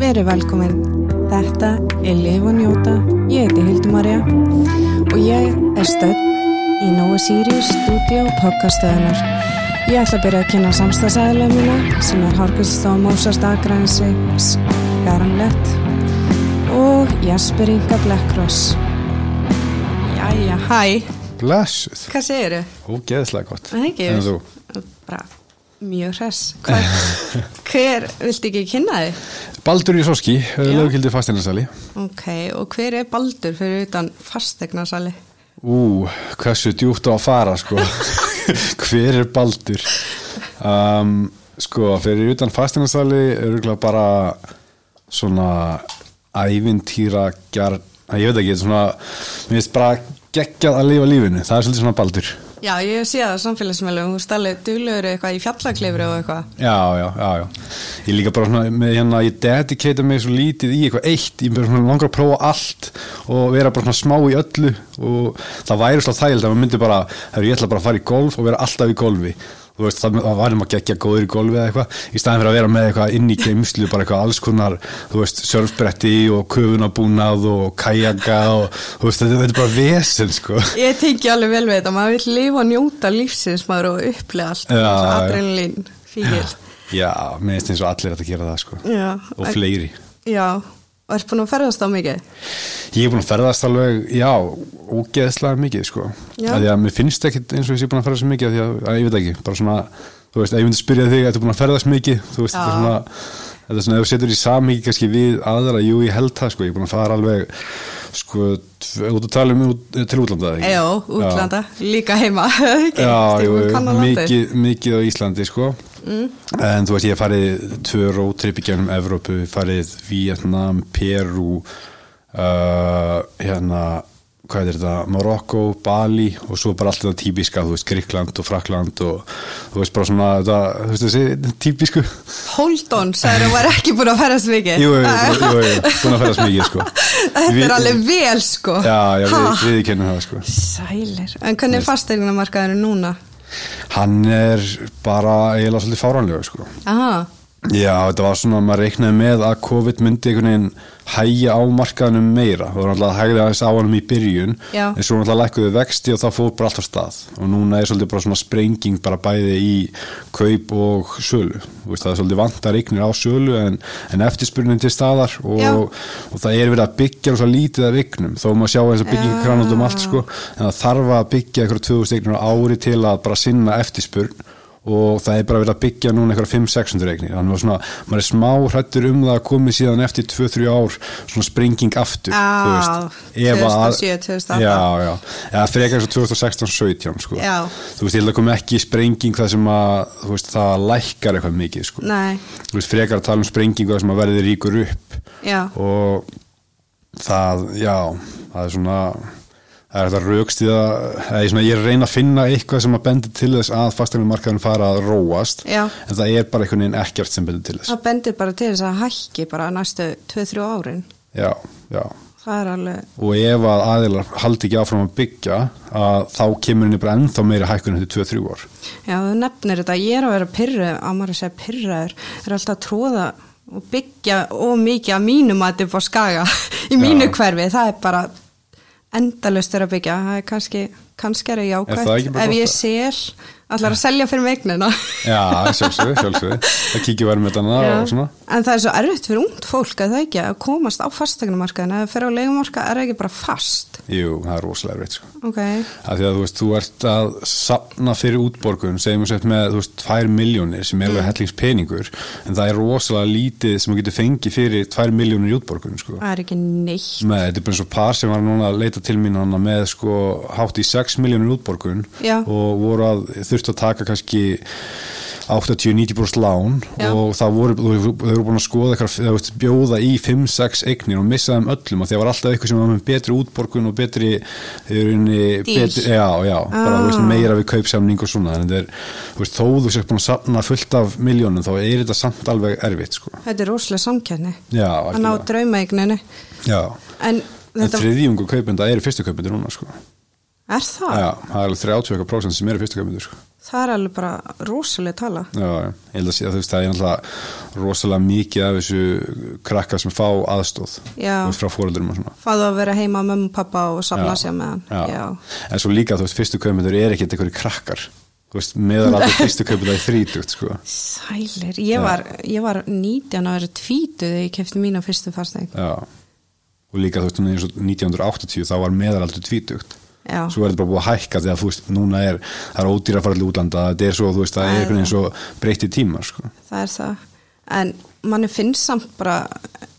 Verið velkomin. Þetta er Liv og Njóta. Ég heiti Hildur Marja og ég er stödd í Nóa Sirius stúdíu podcastöðunar. Ég ætla að byrja að kynna samstagsæðilega mína sem er Harkustóð Mósast Akrænsiks Garanlett og Jasper Inga Blackross. Jæja, hæ. Blessuð, Hvað segirðu? ógeðslega gott Það ekki? En þú, Bara mjög hress. Hver, hver viltu ekki kynna þig? Baldur eh, í Soski, Já. lögkildi fastinarsali Ok, og hver er Baldur fyrir utan fastegnarsali? Ú, hversu djúpt á að fara sko Hver er Baldur? Um, sko, fyrir utan fastinarsali örgulega bara svona ævintýra gjarn, ég veit ekki, svona mér finnst bara geggjað að lifa lífinu það er svolítið svona Baldur Já, ég sé það á samfélagsmeilum, hún stalið duglegur eitthvað í fjallaklifri og eitthvað. Já, já, já, já. Ég líka bara svona með hérna, ég dedikata mig svo lítið í eitthvað eitt, ég bara svona langar að prófa allt og vera bara svona smá í öllu og það væri svo þægild að maður myndi bara, herru, ég ætla bara að fara í golf og vera alltaf í golfi. Þú veist, það, það væri maður geggja góður í golfi eða eitthvað, í staðin fyrir að vera með eitthvað inn í geimslu, bara eitthvað alls konar, þú veist, surfbretti og köfunabúnað og kajaka og, þú veist, þetta, þetta er bara vesen, sko. Ég tengi alveg vel við þetta, maður vil lifa og njóta lífsins maður og upplega allt, Já, eins og já. adrenalín, fíkil. Já, mér finnst eins og allir að gera það, sko. Já. Og fleiri. Já, og ert búin að ferðast á mikið? Ég er búin að ferðast alveg, já, ógeðslega mikið, sko. Já. Af Því að mér finnst ekkit eins og ég sé búin að ferðast mikið, af því að, að ég veit ekki, bara svona, þú veist, ef ég myndi spyrja þig, ertu búin að ferðast mikið, þú veist, Já. þetta er svona, þetta er svona, ef þú setur í samhengi kannski við aðra, jú, ég held það, sko, ég er búin að fara alveg, sko, tv- út að tala um út, til útlanda, eða ekki? Já, útlanda, líka heima, ekki? Já, jú, Stífum kannan landið. Mm. mikið, mikið á Íslandi sko en þú veist ég hef farið tvö rótripp í gegnum Evrópu farið Vietnam, Peru uh, hérna hvað er þetta, Marokko, Bali og svo bara allt þetta típiska, þú veist Gríkland og Frakland og þú veist bara svona þetta, þú veist þessi típisku jú, Hold on, sagður þú var ekki búin að ferðast mikið? jú, jú, jú, jú, jú, búin að ferðast mikið sko Þetta Við- er alveg vel, sko. Já, já, Ha? við, við kennum það sko Sælir. En hvernig er fasteignamarkaðurinn núna? Hann er bara eiginlega svolítið fáránlega sko Aha, Já, þetta var svona að maður reiknaði með að COVID myndi einhvern veginn hægja á markaðanum meira. Það var náttúrulega að hægja aðeins á hann í byrjun, Já. en svo náttúrulega lækkuðu vexti og það fór bara allt á stað. Og núna er svolítið bara svona sprenging bara bæði í kaup og sölu. Þú Veist, það er svolítið vantar eignir á sölu en, en eftirspurnin til staðar og, Já. og það er verið að byggja svo lítið af eignum. Þó maður sjá eins og byggja Já. kran út um allt sko, en það þarf að byggja eitthvað 2000 eignir á ári til að bara sinna eftirspurn og það er bara verið að byggja núna einhverja 5-600 eignir þannig að svona, maður er smá hrættur um það að komi síðan eftir 2-3 ár svona springing aftur Já, þú veist, ef að- 2007, 2008. já, já, eða frekar svo 2016-17 sko. Já. þú veist, ég held að komi ekki springing það sem að, þú veist, það lækkar eitthvað mikið, sko, nei, þú veist, frekar að tala um springingu það sem að verðið ríkur upp já. og það, já, það er svona það er þetta raukstíða eða ég svona, ég er að reyna að finna eitthvað sem að bendi til þess að fasteignamarkaðurinn fara að róast Já. en það er bara einhvern veginn ekkert sem bendi til þess Það bendir bara til þess að hækki bara næstu 2-3 árin. já, já Það er alveg, og ef að aðilar haldi ekki áfram að byggja að þá kemur henni bara ennþá meiri hækkun eftir 2-3 ár já þú nefnir þetta, ég er að vera pyrruð, að maður að segja pyrraður, er alltaf að tróða og byggja og mikið að mínu mati upp á skaga í mínu Já. hverfi, það er bara endalust er að byggja, það er kannski, kannski er það jákvæmt, það ekki bara ef gott ég að- sel, allar að selja fyrir mig eignina. já, sjálfsög, sjálfsög það kíkja verið með þarna og svona En það er svo erfitt fyrir ungt fólk að það ekki að komast á fastegnumarkaðin, að það fer á leigumarka er það ekki bara fast. jú, það er rosalega reitt sko Ok, að því að þú veist, þú ert að sapna fyrir útborgun, segjum við sett með þú veist, 2 miljónir sem er alveg hellingspeningur en það er rosalega lítið sem þú getur fengið fyrir 2 miljónir í útborgun sko. það er ekki neitt. með, þetta er bara eins og par sem var núna að leita til mín hana með sko hátt í 6 miljónir útborgun Já. og voru að þurftu að taka kannski 80-90% lán Já. og það voru, þú þau voru búin að skoða eitthvað, þú veist, bjóða í 5-6 eignir og missa þeim öllum og það var alltaf eitthvað sem var með betri útborgun og betri, unni, Díl. betri já, já, bara Ah. þú veist, meira við kaupsamning og svona, þannig þetta er, þú veist, þó þú sért búin að safna fullt af miljónum þá er þetta samt alveg erfitt, sko Þetta er rosalega samkjæfni. já, Að ná draumaegninu. já En En þetta, þriðjungu kaupenda eru fyrstu kaupenda núna sko. Er það? Já, það er alveg 30 eitthvað prósent sem eru fyrstu kaupmyndur sko. Það er alveg bara rosalega tala. Já, já. ég held að sé að þú veist það er náttúrulega rosalega mikið af þessu krakka sem fá aðstóð Já. frá fóreldurum og svona Fáðu að vera heima með mömmu og pappa og safna Já. sér með hann. já. En svo líka þú veist fyrstu kaupmyndur er ekkert einhverju krakkar Þú veist, meðalaldur fyrstu kaupmyndur er þrítugt sko. Sælir, ég var, ég var 19 ára tvítuð þegar ég kefti mína fyrstu fasteign. Já Og líka þú veist eins og 1980 þá var meðalaldur tvítugt Já. Svo er þetta bara búið að hækka þegar þú veist núna er það er ódýra farallu útlanda það er svo þú veist það Það er er einhvern veginn svo breytti tímar sko. það er það en manni finnst samt bara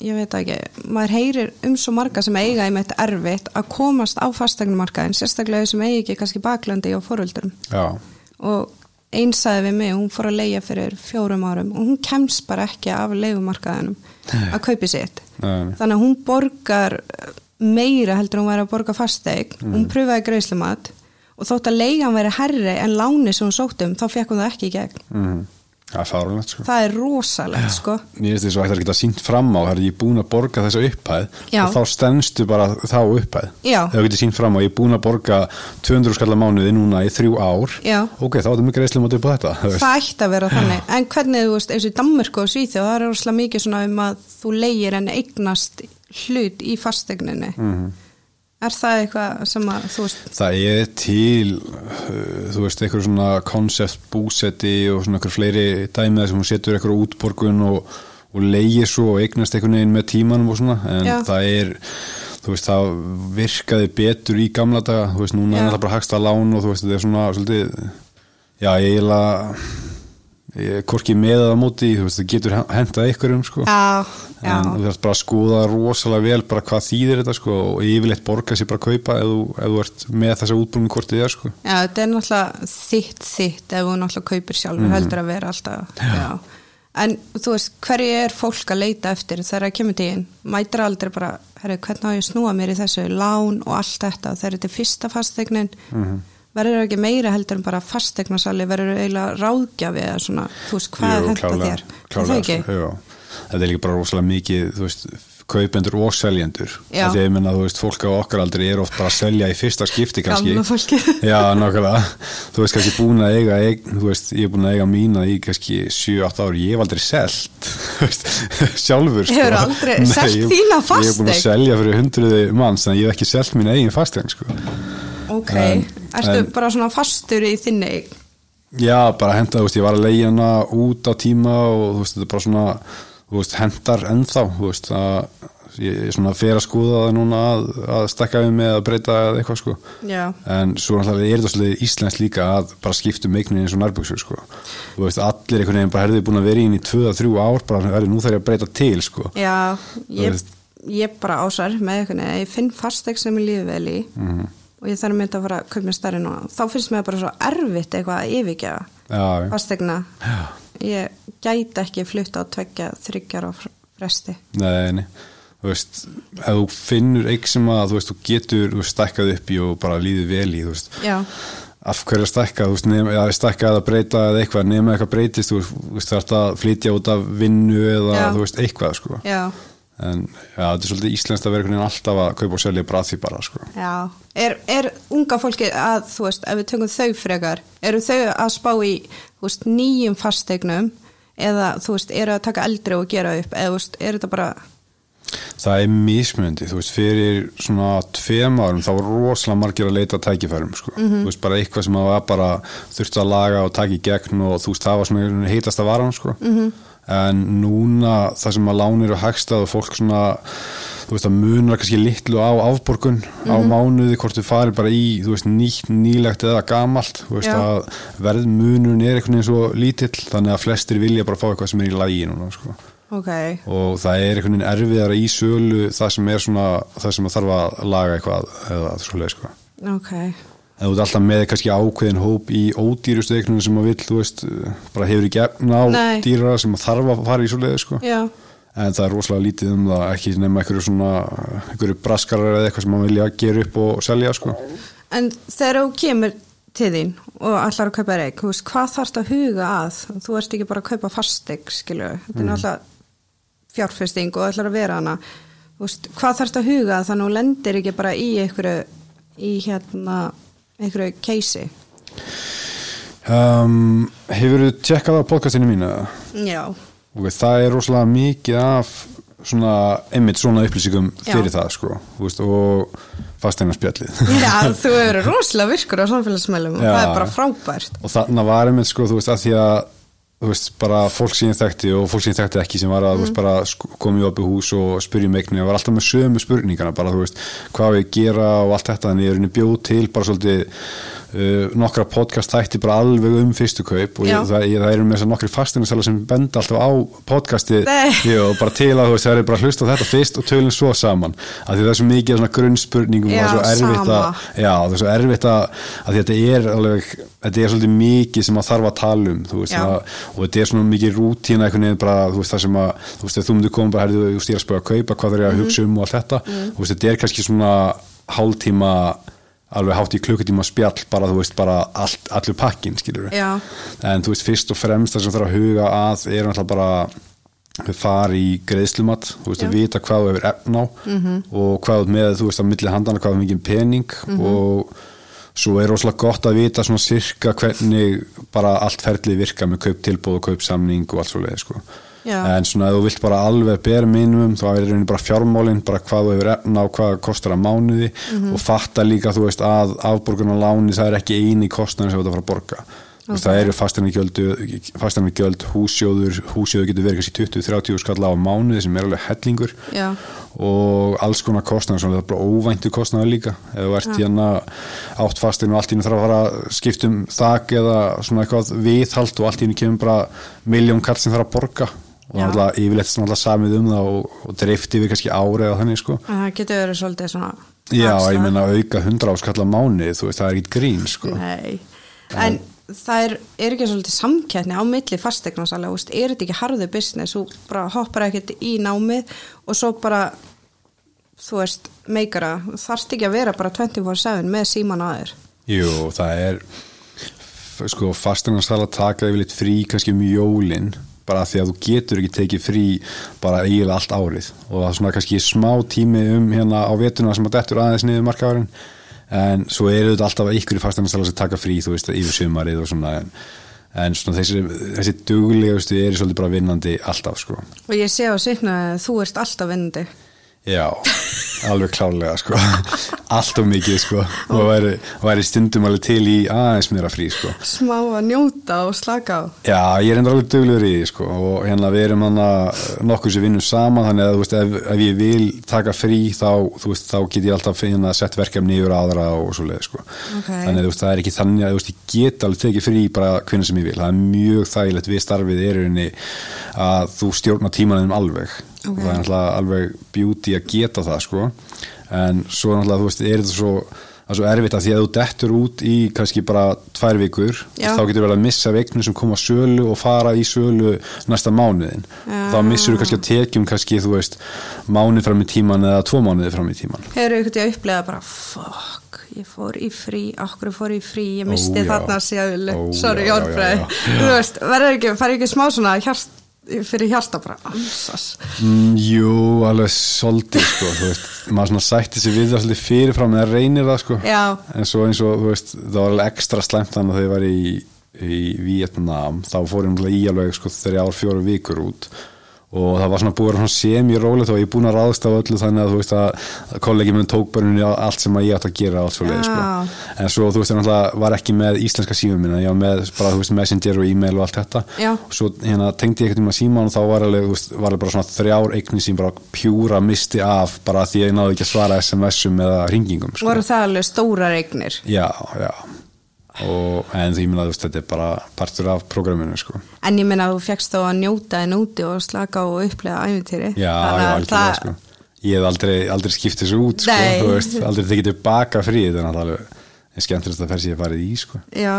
ég veit það ekki, maður heyrir um svo marga sem eiga einmitt erfitt að komast á fastegnumarkaðin, sérstaklega þau sem eigi ekki kannski baklandi á foröldurum Já, og einsæði við mig, hún fór að leigja fyrir fjórum árum og hún kemst bara ekki af leigumarkaðinum að kaupi sitt Nei. þannig að hún borgar meira heldur en hún væri að borga fasteig hún pröfaði greiðslumat og þótt að leigan væri herri en láni sem hún sótt um, þá fekk hún það ekki í gegn mm. það er fárunlegt sko. það er rosalegt sko Mér finnst þess að það geta sínt fram á þegar ég er búin að borga þessa upphæð Já. og þá stenstu bara þá upphæð Já. þegar þú getur sínt fram á ég er búin að borga 200 skallar mánuði núna í þrjú ár Já. ok, þá er það mjög greiðslega mátu upp á þetta þú veist. það ætti að vera þannig en hvernig þú veist, eins og í Danmörku og Svíþjóð það er rosalega mikið svona um að þú leigir en eignast hlut í fastegninni er það eitthvað sem að þú veist Það er til, uh, þú veist, einhver svona concept búsetti og svona einhver fleiri dæmið sem hún setur einhver útborgun og, og leigir svo og eignast einhvern veginn með tímanum og svona en Já. það er, þú veist, það virkaði betur í gamla daga þú veist, núna Já. er það bara hagsta lán og þú veist, þetta er svona svolítið, já, ég er ég er hvorki með eða á móti, þú veist, það getur hendað einhverjum, sko já, já, en þú þarfst bara að skoða rosalega vel bara hvað þýðir þetta sko og yfirleitt borga sér bara að kaupa ef þú, ef þú ert með þessa útbrunni hvort þið er sko já, þetta er náttúrulega þitt þitt ef þú náttúrulega kaupir sjálfur Mhm. heldur að vera alltaf já. en þú veist, hverju er fólk að leita eftir þegar það kemur tíðin mætir aldrei bara, herri, hvernig á ég að snúa mér í þessu lán og allt þetta þegar þetta er fyrsta fastegnin Mhm. verður ekki meira heldur en bara fastegnasali verður eiginlega ráðgjafi eða svona, þú veist, hvað Jú, henda klárlega, þér Er það klárlega, ekki? sko, já. þetta er líka bara rosalega mikið þú veist, kaupendur og seljendur Já. þetta er minna, þú veist, fólk á okkar aldrei er oft bara að selja í fyrsta skipti kannski Gamla fólkið. já, nákvæmlega, þú veist kannski búin að eiga eig- þú veist, ég er búin að eiga mína í kannski 7-8 ári, ég hef aldrei selt þú veist, sjálfur sko. Hefurðu aldrei Nei, selt ég- ég er búin þína að fasteign? selja fyrir hundruði manns en ég hef ekki selt mín eigin fasteign sko. ok, En- ertu en- bara svona fastur í þinni eign? Já, bara henda, þú veist, ég var að leiða hana út á tíma og þú veist, þetta er bara svona, þú veist, hendar ennþá, þú veist, að ég ég svona fer að skoða það núna að, að stekka við með að breyta eða eitthvað, sko. Já. En svo náttúrulega er þetta svolítið íslensk líka að bara um skiptum meiknin eins og nærbjöksur, sko. Þú veist, allir einhvern veginn bara herðið búin að vera inn í 2-3 ár, bara herðið, nú þarf ég að breyta til, sko. Já, Þú ég, veist. ég bara ásar með einhvern veginn, ég finn fasteik sem ég lífi vel í Mhm. og ég þarf að mynda að fara að kaupa mér stærri núna. Þá finnst mér bara svo erfitt eitthvað að yfirgefa Já, fasteikna. Ég gæti ekki flutt á tveggja þryggjar á fresti. Nei, nei, þú veist ef þú finnur eitthvað sem að þú veist, þú getur þú veist, stækkað upp í og bara líðið vel í þú veist, Já. af hverju að stækka þú veist, nema, eða stækka eða breyta eða eitthvað nema eitthvað breytist, þú veist, þú veist, þarf að flytja út af vinnu eða Já. þú veist, eitthvað sko, Já, en já, þetta er svolítið íslenskt að vera einhvern veginn alltaf að kaupa og selja bara að því bara, sko, já. Er, er unga fólki að, þú veist, ef við tökum þau frekar, eru þau að spá í, þú veist, nýjum fasteignum eða, þú veist, eru að taka eldri og gera upp eða, þú veist, er þetta bara, það er mismundi, þú veist, fyrir svona tveim árum þá var rosalega margir að leita að tækifærum, sko, þú veist, bara eitthvað sem að var bara þurfti að laga og taka í gegn og þú veist, það var svona heitast að varan, sko, -hmm. en núna það sem að lánir og hagstað og fólk svona, þú veist, það munar kannski litlu á afborgun á mánuði, hvort þú farir bara í, þú veist, nýtt, nýlegt eða gamalt, þú veist, Já. að verðmunun er einhvern veginn svo lítill, þannig að flestir vilja bara fá eitthvað sem er í lagi núna, sko ok, og það er einhvern veginn erfiðara í sölu það sem er svona, það sem þarf að laga eitthvað eða svoleið sko ok, eða þú ert alltaf með kannski ákveðin hóp í ódýrustu eignunum sem að vill, þú veist bara hefur í gefn á Nei. dýrara sem að þarf að fara í svoleið sko já. en það er rosalega lítið um það ekki nema einhverju svona, einhverju braskarar eða eitthvað sem maður vilja gera upp og selja sko En þegar þú kemur til þín og allar að kaupa þér eign, þú veist, hvað þarf þetta að huga að? Þú ert ekki bara að kaupa fasteig, skilju, þetta Mm. er náttúrulega fjárfesting og allar að vera hana. Þú veist, hvað þarf þetta að huga að þannig að þú lendir ekki bara í einhverju, í hérna, einhverju keisi um, Hefur þú tjekkað á podcastinu mínu? eða? já, Ok, það er rosalega mikið af svona, einmitt svona upplýsingum fyrir það sko, þú veist, og fasteinarspjallið já þú eru rosalega virkur á samfélagsmeilum og Já. það er bara frábært og þarna var einmitt sko, þú veist, að því að þú veist, bara fólk sem ég þekkti og fólk sem ég þekkti ekki sem var að, þú veist, Mhm. bara sk- kom í opið hús og spurði mig og var alltaf með sömu spurningana, bara, þú veist, hvað á ég að gera og allt þetta, en ég er henni bjóð til bara svolítið uh, nokkra podcast þætti bara alveg um fyrstu kaup og Já. ég, það, ég, það eru með þess að nokkri fastinarsala sem benda alltaf á podcastið Nei. Jú, og bara til að þú veist, það er bara að hlusta á þetta fyrst og tölum svo saman, af því það er svo mikið af svona grunnspurningum Já, og það er svo erfitt sama. að Já, það er svo erfitt að, að því þetta er alveg, þetta er svolítið mikið sem að þarf að tala um, þú veist, Já. að, og þetta er svona mikið rútína einhvern veginn bara, þú veist, það sem að, þú veist, ef þú myndir koma bara, herðu, þú veist, ég er að spöga að kaupa, hvað þarf ég Mhm. að hugsa um og allt þetta, þú veist, þetta er kannski svona hálftíma, alveg hátt í klukkutíma spjall, bara, þú veist, bara allt, allur pakkin, skilur við, Já. en þú veist, fyrst og fremst það sem þarf að huga að er náttúrulega bara fara í greiðslumat, þú veist, Já. Mhm. að vita vita hvað þú hefur efn á og hvað þú ert með, þú veist, að milli handana hvað þú mikið pening og svo er rosalega gott að vita svona sirka hvernig bara allt ferlið virka með kauptilbóð og kaupsamning og allt svo leið, sko. Já. En svona, ef þú vilt bara alveg bera minimum, þá er raunin bara fjármálin, bara hvað þú hefur efn á, hvað það kostar að mánuði og fatta líka, þú veist, að afborgunar láni, það er ekki eini kostnæður sem þú ert að fara að borga. Okay. Það eru fastanargjöld, húsjóður, húsjóður getur verið kannski 20-30 skall á mánuði sem er alveg hellingur Já. og alls konar kostnaður sem er bara óvæntu kostnaður líka ef þú ert hérna átt fastin og allt í henni þarf að fara að skipta um þak eða svona eitthvað viðhald og allt í henni kemur bara miljón kall sem þarf að borga og Já. alltaf yfirleitt svona alltaf samið um það og, og dreift yfir kannski árið og þannig sko En það getur verið svolítið svona Já, ég afslað. meina auka hundra áskalla mánuði, þú veist, það er ekkit grín, sko. Nei, en það er, er ekki svolítið samkettni á milli fastegnarsala, þú veist, er þetta ekki harðu business, þú bara hoppar ekkert í námið og svo bara þú veist, meikara þarft ekki að vera bara 24-7 með síman aður. Jú, það er, f- sko, fastinarsala taka yfirleitt frí kannski um jólin, bara af því að þú getur ekki tekið frí bara eiginlega allt árið og það er svona kannski smá tími um hérna á vetuna sem að dettur aðeins niður markaðurinn, en svo eru þetta alltaf ykkur í fastinarsala sem taka frí, þú veist, yfir sumarið og svona, en, en svona þessi, þessi duglegustu eru svolítið bara vinnandi alltaf, sko. Og ég sé á sýkna að þú ert alltaf vinnandi. Já, alveg klálega sko allt og mikið sko og væri, væri stundum alveg til í aðeins meira frí sko Smá að njóta og slaka á. Já, ég er enda alveg duglegur í því sko og hérna við erum hann að nokkuð sem vinnum saman þannig að þú veist ef, ef ég vil taka frí þá, þú veist, þá get ég alltaf hérna sett verkefni yfir aðra og svo leið sko Ok. þannig að þú veist það er ekki þannig að þú veist ég get alveg tekið frí bara hvernig sem ég vil það er mjög þægilegt við starfið er í rauninni að þú stjórna tímanum alveg Ok. og það er náttúrulega alveg beauty að geta það sko en svo náttúrulega þú veist er þetta svo það er svo erfitt að því að þú dettur út í kannski bara tvær vikur Já. þá getur vel að missa veiknum sem koma á sölu og fara í sölu næsta mánuðin Já. þá missur þú kannski að tekjum kannski þú veist mánuð fram í tíman eða tvo mánuði fram í tíman Hefur ykkur til að upplega bara, fuck, ég fór í frí, okkur fór í frí, ég misti Ó, já. þarna sérlu, Ó, sorry, já, já, orðfræði. já, já. Þú veist, verður ekki, fær ekki smá svona hjart, fyrir hjarta bara, ansas. mm, Jú, alveg svolítið sko, þú veist, maður svona sætti sér við það svolítið fyrirfram eða reynir það sko Já. en svo eins og þú veist, það var alveg ekstra slæmt þannig að þau var í, í Vietnam, þá fórum við í alveg sko þrjár, fjóru vikur út og það var svona búið að vera svona semi-róli þá var ég búin að ráðast á öllu þannig að þú veist að að kollegi minn tók börnunni á allt sem að ég átt að gera og allt svo leið Já. sko. en svo þú veist ég náttúrulega var ekki með íslenska símum minna, ég var með bara þú veist messenger og e-mail og allt þetta Já. og svo hérna tengdi ég eitthvað um að síman og þá var alveg, þú veist, var alveg bara svona þrjár eignir sín bara pjúra misti af bara því að ég náði ekki að svara SMS-um eða ringingum sko. Voru það alveg stórar eignir. Já, já og, en því minna þú veist þetta er bara partur af prógraminu sko. En ég minna þú fegst þá að njóta en úti og slaka á og upplega æfintýri. Já, já, algjörlega sko. Ég hef aldrei, aldrei skipt þessu út sko, Nei. þú veist, aldrei tekið tilbaka frí þetta er náttúrulega en skemmtilegst að fer sér farið í sko. Já,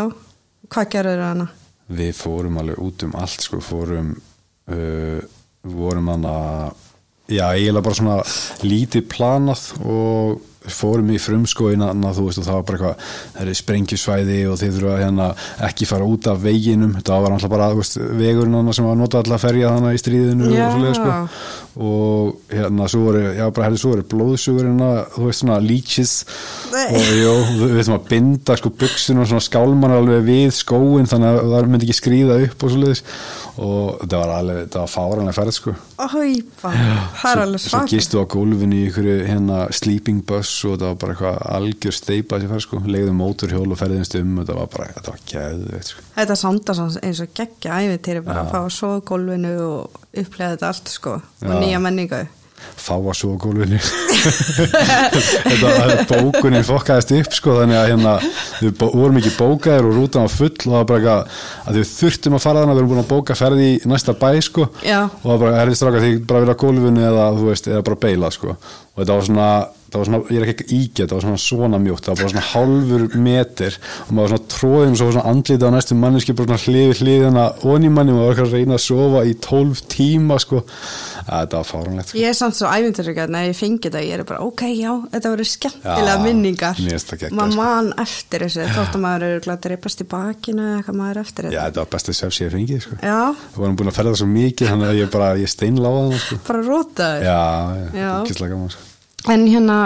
hvað gerður hana? Við fórum alveg út um allt sko, fórum uh, vorum hann að já, eiginlega bara svona lítið planað og fórum í frumskóin annað, þú veist og það var bara eitthvað það eru sprengjusvæði og þið þurfa hérna ekki fara út af veginum það var alltaf bara þú veist, vegurinn annað sem var nota alltaf að ferja þannig í stríðinu Já. og, svoleiðis, sko. og hérna svo voru, já, bara, hérna, svo voru blóðsugurinn þú veist svona leeches Nei. og jó, við veitum að binda sko buksin og svona skálman alveg við skóin þannig að það myndi ekki skrýða upp og svo og þetta var alveg, þetta var fáranlega ferð sko Æpa, það er alveg Svo svak gistu á gólfinu í ykkur hérna sleeping bus og þetta var bara eitthvað algjör steipa þessi ferð sko, leiðum móturhjól og ferðinst um og þetta var bara, þetta var geðveikt sko. Þetta sándar samt eins og geggja æfintýri bara að fá að sofa á gólfinu og upplega þetta allt sko og Já. nýja menningu fá að svo á gólfinu þetta bókunin fokkaðist upp sko þannig að hérna við bó- vorum ekki bókaðir og rútan var full og það var bara eitthvað að við þurftum að fara þannig við vorum búin að bóka ferði í næsta bæ sko Já. og það var bara erfið stráka því bara að vera á gólfinu eða þú veist eða bara beila sko og þetta var svona það var svona, ég er ekki ekki ígætt, það var svona svona mjótt það var bara svona hálfur metir og maður var svona tróðum svo svona andlita á næstu manneski bara svona hlifi hliðina onni hérna manni maður var eitthvað að reyna að sofa í 12 tíma sko, að þetta var fáránlegt sko. Ég er samt svo æfintýri gæt ég fengi þetta ég er bara ok, já, þetta voru skemmtilega Já, minningar mér finnst það geggjað, Maður sko. man eftir þessu þótt að maður eru glætt að reypast í bakinu eða eitthvað maður er eftir Já, þetta þetta var besta svefs ég fengið, sko. Já, Við varum búin að ferða svo mikið, þannig að ég bara, ég steinláði hana, sko. bara rótaður Já, Já. já, gíslega gaman, sko. En hérna,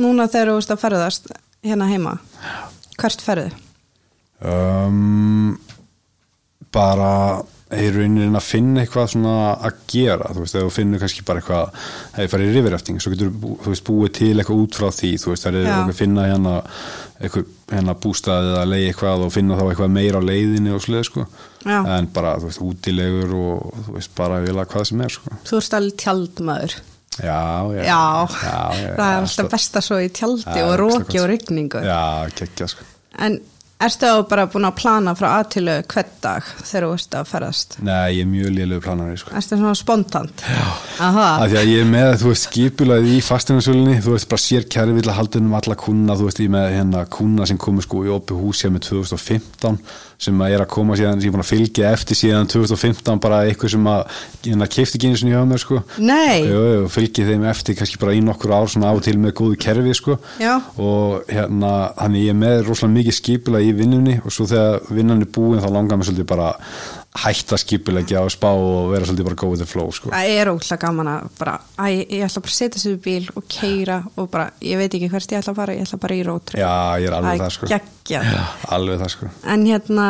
núna þegar þú veist að ferðast hérna heima, hvert ferðu? Um, bara, ég er raunin að finna eitthvað svona að gera, þú veist, eða þú finnur kannski bara eitthvað, eða ég farið í rifirafting, svo getur þú veist, búið til eitthvað út frá því, þú veist, það er Já. okkur að finna hérna, eitthvað, hérna bústaðið eða leið eitthvað og finna þá eitthvað meira á leiðinni og slið, sko. Já. En bara, þú veist, útilegur og, þú veist, bara vilja hvað sem er, sko. Þú ert alveg tjaldmaður. Já, já, Já, já, já, það er alltaf besta svo í tjaldi Já, og ógeðslega róki gott. og rigningu. Já, geggja sko En ertu þá bara búin að plana frá aðtilu hvern dag þegar þú ert að ferðast? Nei, ég er mjög lélög planari sko Ertu svona spontant? Já. Aha, Af því að ég er með, þú veist, skipulaðið í fastinarsölunni, þú veist, bara sér kæri vilja haldunum alla kuna, þú veist, ég er með hérna kuna sem komur sko í opið hús hér með 2015 sem að er að koma síðan, sem ég er búin að fylgja eftir síðan 2015 bara eitthvað sem að, hérna, keifti ekki einu sinni hjá mér sko nei, Jú, jú, fylgið þeim eftir kannski bara í nokkur ár svona á og til með góðu kerfi sko Já. og hérna, þannig ég er með rosalega mikið skipulega í vinnunni og svo þegar vinnan er búin þá langar mér svolítið bara að hætta skipulegja á spá og vera svolítið bara go with the flow sko það er ótrúlega gaman að bara, æ, ég ætla bara að setja sér í bíl og keira og bara, ég veit ekki hvert ég ætla að fara, ég ætla bara í rótri. Já, ég er alveg það sko Geggjað. Já, Alveg það sko En hérna,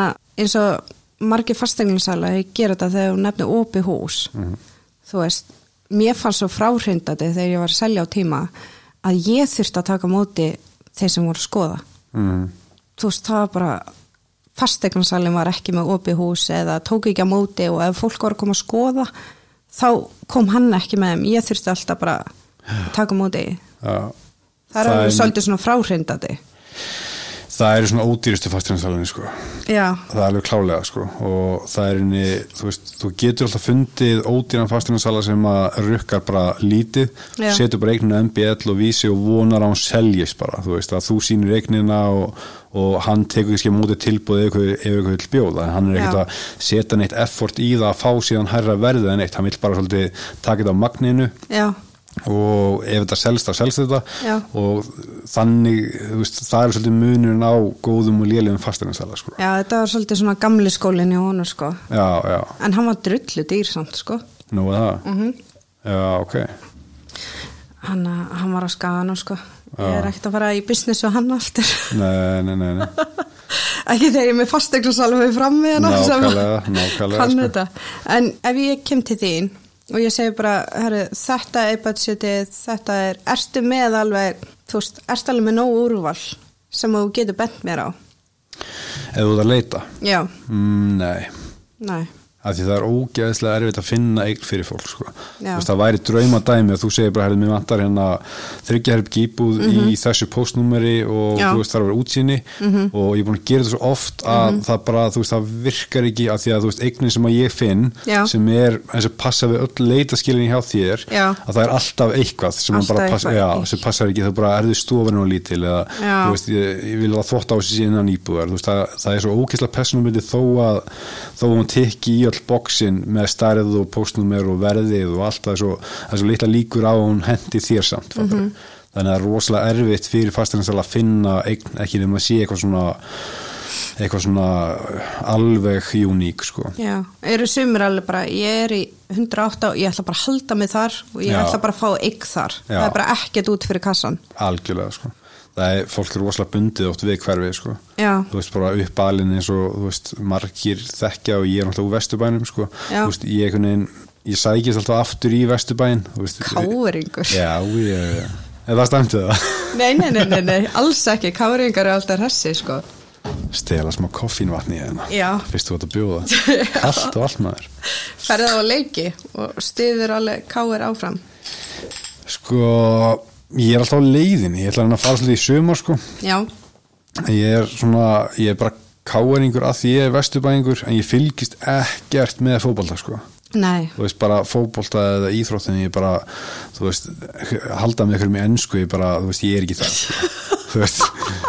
eins og margir fasteigninsæla gera þetta þegar hún nefnir opið hús. Mhm. Þú veist, mér fannst svo fráhrindandi þegar ég var að selja á tíma að ég þurfti að taka á móti þeir sem voru að skoða. mm. Þú veist, það var bara fasteigninsælin var ekki með opið hús eða tók ekki á móti og ef fólk voru að koma að skoða þá kom hann ekki með þeim. Ég þurfti alltaf bara að taka á móti. Já. Það er Það alveg er- svolítið svona fráhrindandi. Það eru svona ódýrustu fastinansalunni sko Já, það er alveg klálega sko og það er inni, þú veist, þú getur alltaf fundið ódýran fastinansala sem að rukkar bara lítið, Já. setur bara eigninu MBL og vísi og vonar að hún seljist bara, þú veist, að þú sýnir eignina og, og hann tekur ekki mútið tilbúið ef ykkur- ef ykkur vill bjóða en hann er ekkert Já. að setja neitt effort í það að fá síðan hærra verðið en eitt, hann vill bara svolítið taka þetta á magninu já, og ef þetta selst þá selst þetta Já. og þannig, þú veist, það er svolítið munurinn á góðum og lélegum fastinansala sko. já, þetta var svolítið svona gamli skólinn í honum sko. Já, já. En hann var drullu dýr samt sko. Nú er það? Mhm. Já, ok. Hann, uh, hann var á skaganum sko. Ég Já. er ekkert að fara í business við hann aftur. Nei, nei, nei, nei. Ekki þegar ég er með fastegnarsalvi fram með hann. Nákvæmlega, nákvæmlega, Kann sko. þetta. En ef ég kem til þín og ég segi bara, herru, þetta er budgetið, þetta er, ertu með alveg, þú veist, ertu alveg með nóg úrval sem þú getur bent mér á. Ef þú ert að leita? Já, Mm, nei. næ, Af því það er ógeðslega erfitt að finna eign fyrir fólk, sko. Já. Þú veist, það væri draumadæmi að þú segir bara, herrið, mér vantar hérna þryggjaherb gíbúð í þessu postnúmeri og Mhm. Já. Mhm. þú veist, það er að vera útsýni og ég er búin að gera þetta svo oft að það bara, þú veist, það virkar ekki af því að, þú veist, eignin sem að ég finn Já. sem er, eins og passa við öll leitaskilinni hjá þér, Já. að það er alltaf eitthvað sem, Alltaf alltaf bara passa, eitthvað. já, sem passar ekki, það bara erðu stofinu og lítil eða, Já. þú veist, ég, ég vil að þvótt á þessi innan íbúðar þú veist, það, það er svo ókesslega personumbyndi þó að þó að hún tekki í all bóksin með stærð og postnummer og verðið og allt það er svo, það er svo litla líkur á að hún hendi þér samt mm þannig að það er rosalega erfitt fyrir fasteignarsala að finna eign, ekki þegar maður sé eitthvað svona eitthvað svona alveg uník sko. Já, eru sumir alveg bara, ég er í 108 og ég ætla bara að halda mig þar og ég Já. ætla bara að fá eign þar. Já. Það er bara ekkert út fyrir kassan. algjörlega sko. það er, fólk er rosalega bundið oft við hverfið sko. Já. þú veist bara uppalinn eins og þú veist, margir þekkja og ég er náttúrulega úr vesturbænum sko. Já. Þú veist, ég, einhvern veginn, ég sækist alltaf aftur í vesturbæn þú veist, Káringur. já, ég, eða það stemdi það Nei, nei, nei, nei, nei, alls ekki. Káringar eru alltaf hressi, sko. stela smá koffínvatni í hérna Já. fyrst þú ert að bjóða allt og allt maður Ferða á leiki og stiður alveg káir áfram. sko, ég er alltaf á leiðinni ég ætla hann að fara svolítið í sumar sko Já, ég er svona, ég er bara káeringur að því ég er vesturbæingur en ég fylgist ekkert með fótbolta sko nei, þú veist bara fótbolta eða íþróttin ég bara, þú veist halda með ykkur með ennsku, ég bara, þú veist ég er ekki það sko. þú veist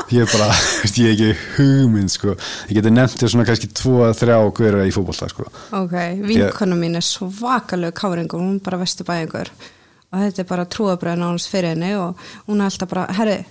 ég er bara, þú veist, ég er ekki hugmynd sko ég geti nefnt þér svona kannski tvo að þrjá hverja í fótbolta sko ok. Vinkona mín er svakalegu káringur, hún er bara vesturbæðingur og þetta er bara trúabröðin á hans fyrir henni og hún er alltaf bara, herri,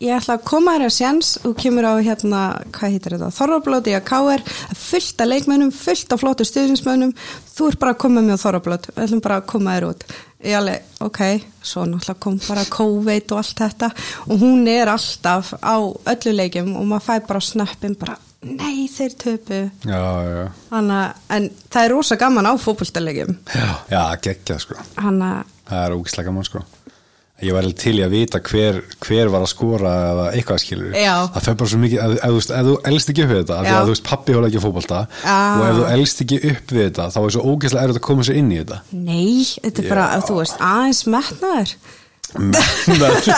ég ætla að koma þér að séns, þú kemur á hérna, hvað heitir þetta, Þorrablót í að káir, fullt af leikmönnum, fullt af flóttu stuðinsmönnum, þú ert bara að koma með Þorrablót, við ætlum bara að koma þér út. Ég alveg, ok, svo náttúrulega kom bara COVID og allt þetta og hún er alltaf á öllu leikjum og maður fæ bara snöppin bara, nei þeir töpu, já, já, Hanna, en það er rosa gaman á fótboltalegjum. já, já geggjað sko Hanna, það er ógislega gaman sko ég var alveg til í að vita hver, hver var að skora eða eitthvað skilur Já. það fer bara svo mikið, ef, ef, þú veist- ef þú elst ekki upp við þetta af því Já. að þú veist pappi hóla ekki fótbolta Ah. og ef þú elst ekki upp við þetta þá er svo ógeðslega erfitt að koma sér inn í þetta nei, þetta er bara, þú veist, aðeins metnaður. já,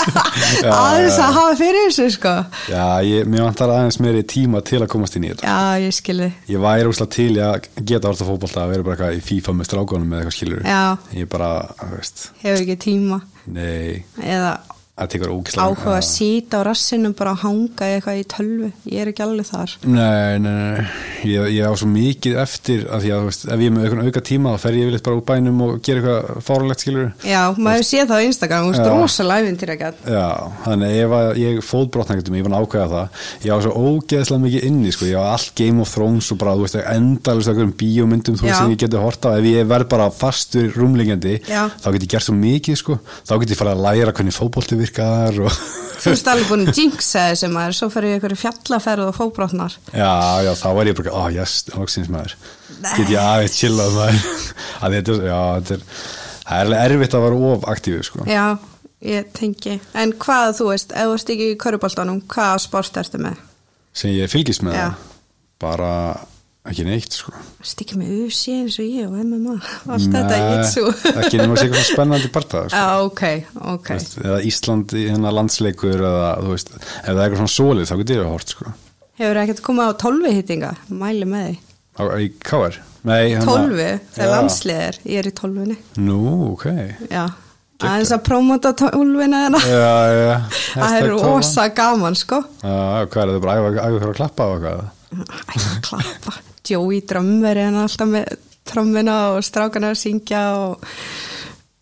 aðeins já, að hafa fyrir þessu, sko. já ég, mér vantar aðeins meiri tíma til að komast inn í þetta Já, ég skilði. ég væri ógeðslega til í að geta orða fótbolta að vera bara eitthvað í FIFA með strákonum eða eitthvað skilur Já. ég bara, þú veist, Hefur ekki tíma. nei Eða það tekur ógeðslega áhuga að síta á rassinum bara að hanga í eitthvað í tölvu. Ég er ekki alveg þar. Nei, nei, nei, nei. ég, ég á svo mikið eftir að því að þú veist, ef ég er með eitthvað auka tíma þá fer ég yfirleitt bara úr bænum og gera eitthvað fárlegt skilur Já, maður sé það á Instagram, þú veist, Já. rosalega æfintýra gæt. Já, þannig ef að ég fótbrotnægtum, ég var að ákveða það, ég á svo ógeðslega mikið inni, sko, ég á allt Game of Thrones og bara, þú veist, endalist einhverjum bíómyndum, þú Já. veist, sem ég geti horta á, ef ég verð bara fastur rúmlingandi, Já. þá get ég gert svo mikið, sko, þá get ég farið að læra hvernig fótbolti virkar og, Þú veist alveg búin að jinxa þessu maður, svo fer ég í einhverju fjallaferð og fóbrotnar. já, já, þá er ég bara, ó, jæs, loksins maður, get ég aðeins chillað maður, að þetta, er- já, þetta er, það er alveg erfitt að vera of aktífið, sko. Já, ég tengi. En hvað þú veist, ef þú ert ekki í köruboltanum, hvaða sport ertu með? sem ég fylgist með Já. það, bara ekki neitt, sko. Stikki með UC eins og ég og MMA, allt þetta Nei, ég svo. ekki nema sé eitthvað spennandi parta sko. Já, ok, ok. Þú veist, eða Ísland í hennar landsleikur eða þú veist, ef það er eitthvað svona sólið þá getur ég að hort sko. Hefur ekkert komað á tólfi hittinga? Mæli með því. á, í KR Nei, hana- Tólfi, það er Hérna, Já. landsliðir, ég er í tólfunni. nú, ok Já, aðeins að prómóta tólfunni þarna. já, já, Eh, Það er Hashtag tólfan. rosa gaman, sko. já, já, hvað er það bara æfa æfa ykkur að klappa á eitthvað Æ, klappa. Joey drömmur en alltaf með trommina og strákana að syngja og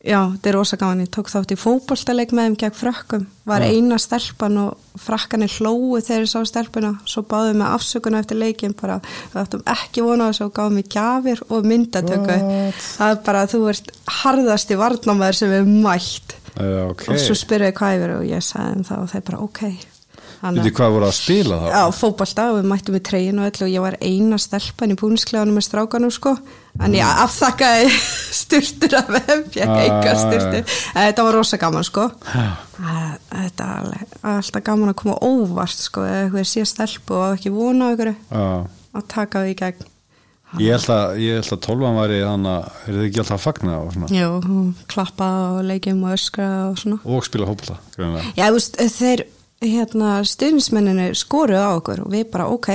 já, þetta er rosa gaman. Ég tók þátt í fótboltaleik með þeim gegn frökkum. Var eina stelpan og frakkanir hlóu þegar ég sá stelpuna. Svo báðum með afsökuna eftir leikin bara við áttum ekki vona þessu og gáðum mig gjafir og myndatöku. What? Það er bara að þú ert harðasti varnamæður sem við mætt. já, ok, Og svo spyrðu hvað yfir og ég sagði þeim það og þeir bara ok. Þannig- veitir hvað voru að spila þá Já, fótballta og við mættum í tregin og allu og ég var eina stelpan í búniskleganum með strákanum sko en ég afþakkaði styrtur af þeim, fekk Ah. enga styrtur en þetta var rosa gaman sko Já. Að- þetta er alveg- eh, alltaf gaman að koma óvart sko eða eitthvað sé stelpu og á ekki vona á ykkur Já. að taka því í gegn ég held að, ég held að tólvan væri þannig að er þið ekki alltaf að fagna og, svona, Jú, hún klappa og leikjum og öskra og svona og spila hópla greinilega. Já, þú veist, þeir hérna, stuðnismenninni skoruð á okkur og við bara ok,